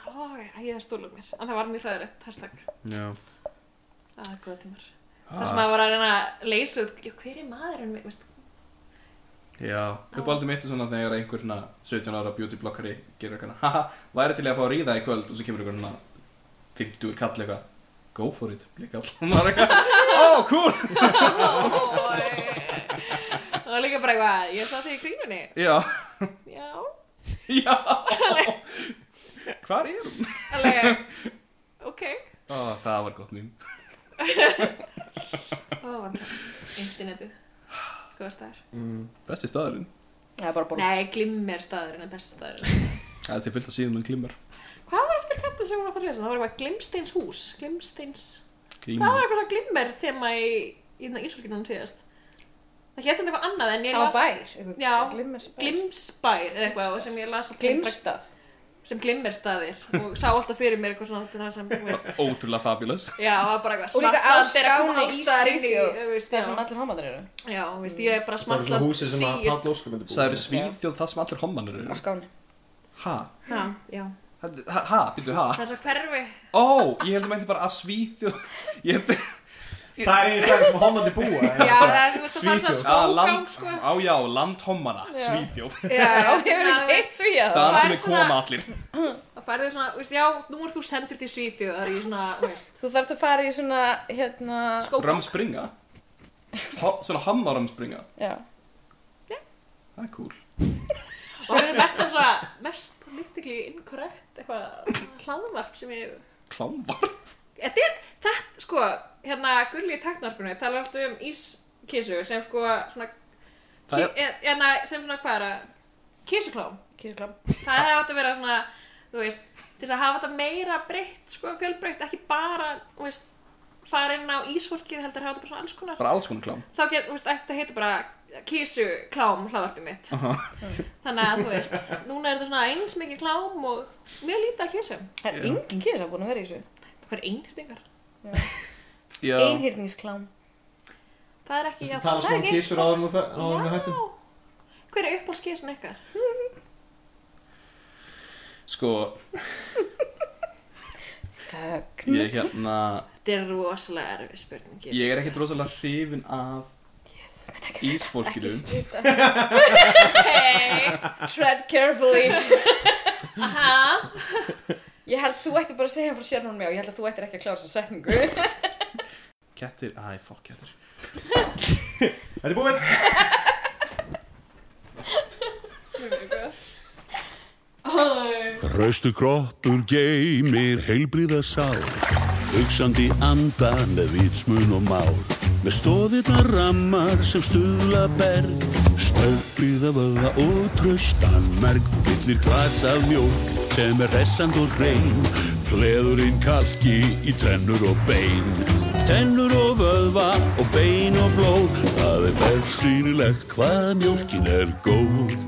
Ó, ég það stúlur mér. En það var mjög hræðilegt hashtag. Já Það er góða tímar. Það sem að var að reyna að leysa út, já, hver er maðurinn minn, veist, Já, uppáldum mitt er svona þegar einhver svona 17 ára beauty blokkari gerir eitthvað svona, Haha, væri til ég að fá að ríða í kvöld og svo kemur einhver svona 50 kall eitthvað Go for it, blíkall Og maður er eitthvað, ó, cool Það var líka bara eitthvað, ég sá þig í kringunni. Já, Já, já Hvar er hún? alveg, ok. Ó, það var gott mín Það var vandrarlegt. Internetið, góða staðar. Besti staðurinn Það er bara borð. Nei, glimmir staðurinn en besta staðurinn. Það er til fullt að síðum um glimmar Hvað var eftir kaflið sem hún var að fara að lesa? Það var eitthvað Glimsteins hús, Glimsteins... Það var Glimmar eitthvað glimmer þema í, í ísólkinunum síðast. Það hétt sem eitthvað annað en ég Það var las... bær. einhver- Já, Glimmersbær. Glimsbær eða eitthvað og sem ég las alltaf um bak- Glimstað. sem glimmerstaðir og sá alltaf fyrir mér eitthvað svona sem, þú veist, Ótrúlega fabulous Já, það var bara eitthvað Og líka á Smartland er að koma skána í allstaðar inn í Svíþjóð, þú veist, þar sem já. allir homandir eru. Já, þú veist, ég er bara Mm. Það er svona smartland húsi sem að síist- Páll Óskar myndi búa Það eru í. svíþjóð það sem allir hommanir Á Mm. eru skáni. Ha? Já, já Ha? Ha? Býttu, ha? Það er svo hverfi Ó, ég heldur meinti bara að svíþjóð Ég heldur Það er einu staðar sem homandi búa en- Já, það er þú veist, það er svo Svíþjóð. skógang, Á, Ah, land, sko á já, landhommana, Svíþjóð Já, Já, það hefur ekki hitt svíða Það það. er hann sem er við svona- koma allir Það færði svona, þú veist, já, nú er þú sendur til Svíþjóð Það er í svona, þú veist, Þú þarft að fara í svona, hérna, Ah, skógang Römspringa Ho, Svona hammarömspringa já. Það er cool Og það er mest af svona, mest politically incorrect Eitthvað hláðvarp sem ég Klámvar Þetta er, þetta, sko, hérna Gulli í taktnarpunni talar alltaf um ískísu sem sko, svona Það ki- eh, hérna, sem svona hvað er að kísuklám, Kísuklám. það hefði átt að vera svona þú veist, til þess að hafa þetta meira breytt, sko, fjölbreytt, ekki bara þú veist, fara inn á ísfólkið heldur hafa þetta bara svona alls konar Bara alls konar klám þá get, þú veist, eftir að heita bara kísuklám hlaðvarpið mitt þannig að, þú veist, núna er þetta svona eins mikið klám og mjög lítið að kísum Það er engin kísa búin að vera í þessu. það er einhyrtingar, Já, Einhyrningsklám. það er ekki Þú já, tala það er svona um ekki kísur áður en þú- áður með hættum Hver er uppáhalskísan ykkar? sko, Þögn. ég hérna Þetta er rosalega erfið spurning. Ég er ekkert rosalega hrifin af ísfólkinu Ekki Ok, Tread carefully. ha? Ég held þú ætti bara að segja frá sérnum mjá. Ég held að þú ættir ekki að klára þessa setningu. Kettir, æ, fuck kettir Þetta er búið Raustu kroppur geymir heilbríða sál Hugsandi anda með vitsmun og mál Með stóðirna rammar sem stuðla berg Stöðbríða vöða og tröstan merg Þú fyllir glas af mjólk sem er hressand og reyn Pleðurinn kalki í trennur og bein Tennur og vöðva og bein og blóð Það er bersýnilegt hvað mjólkin er góð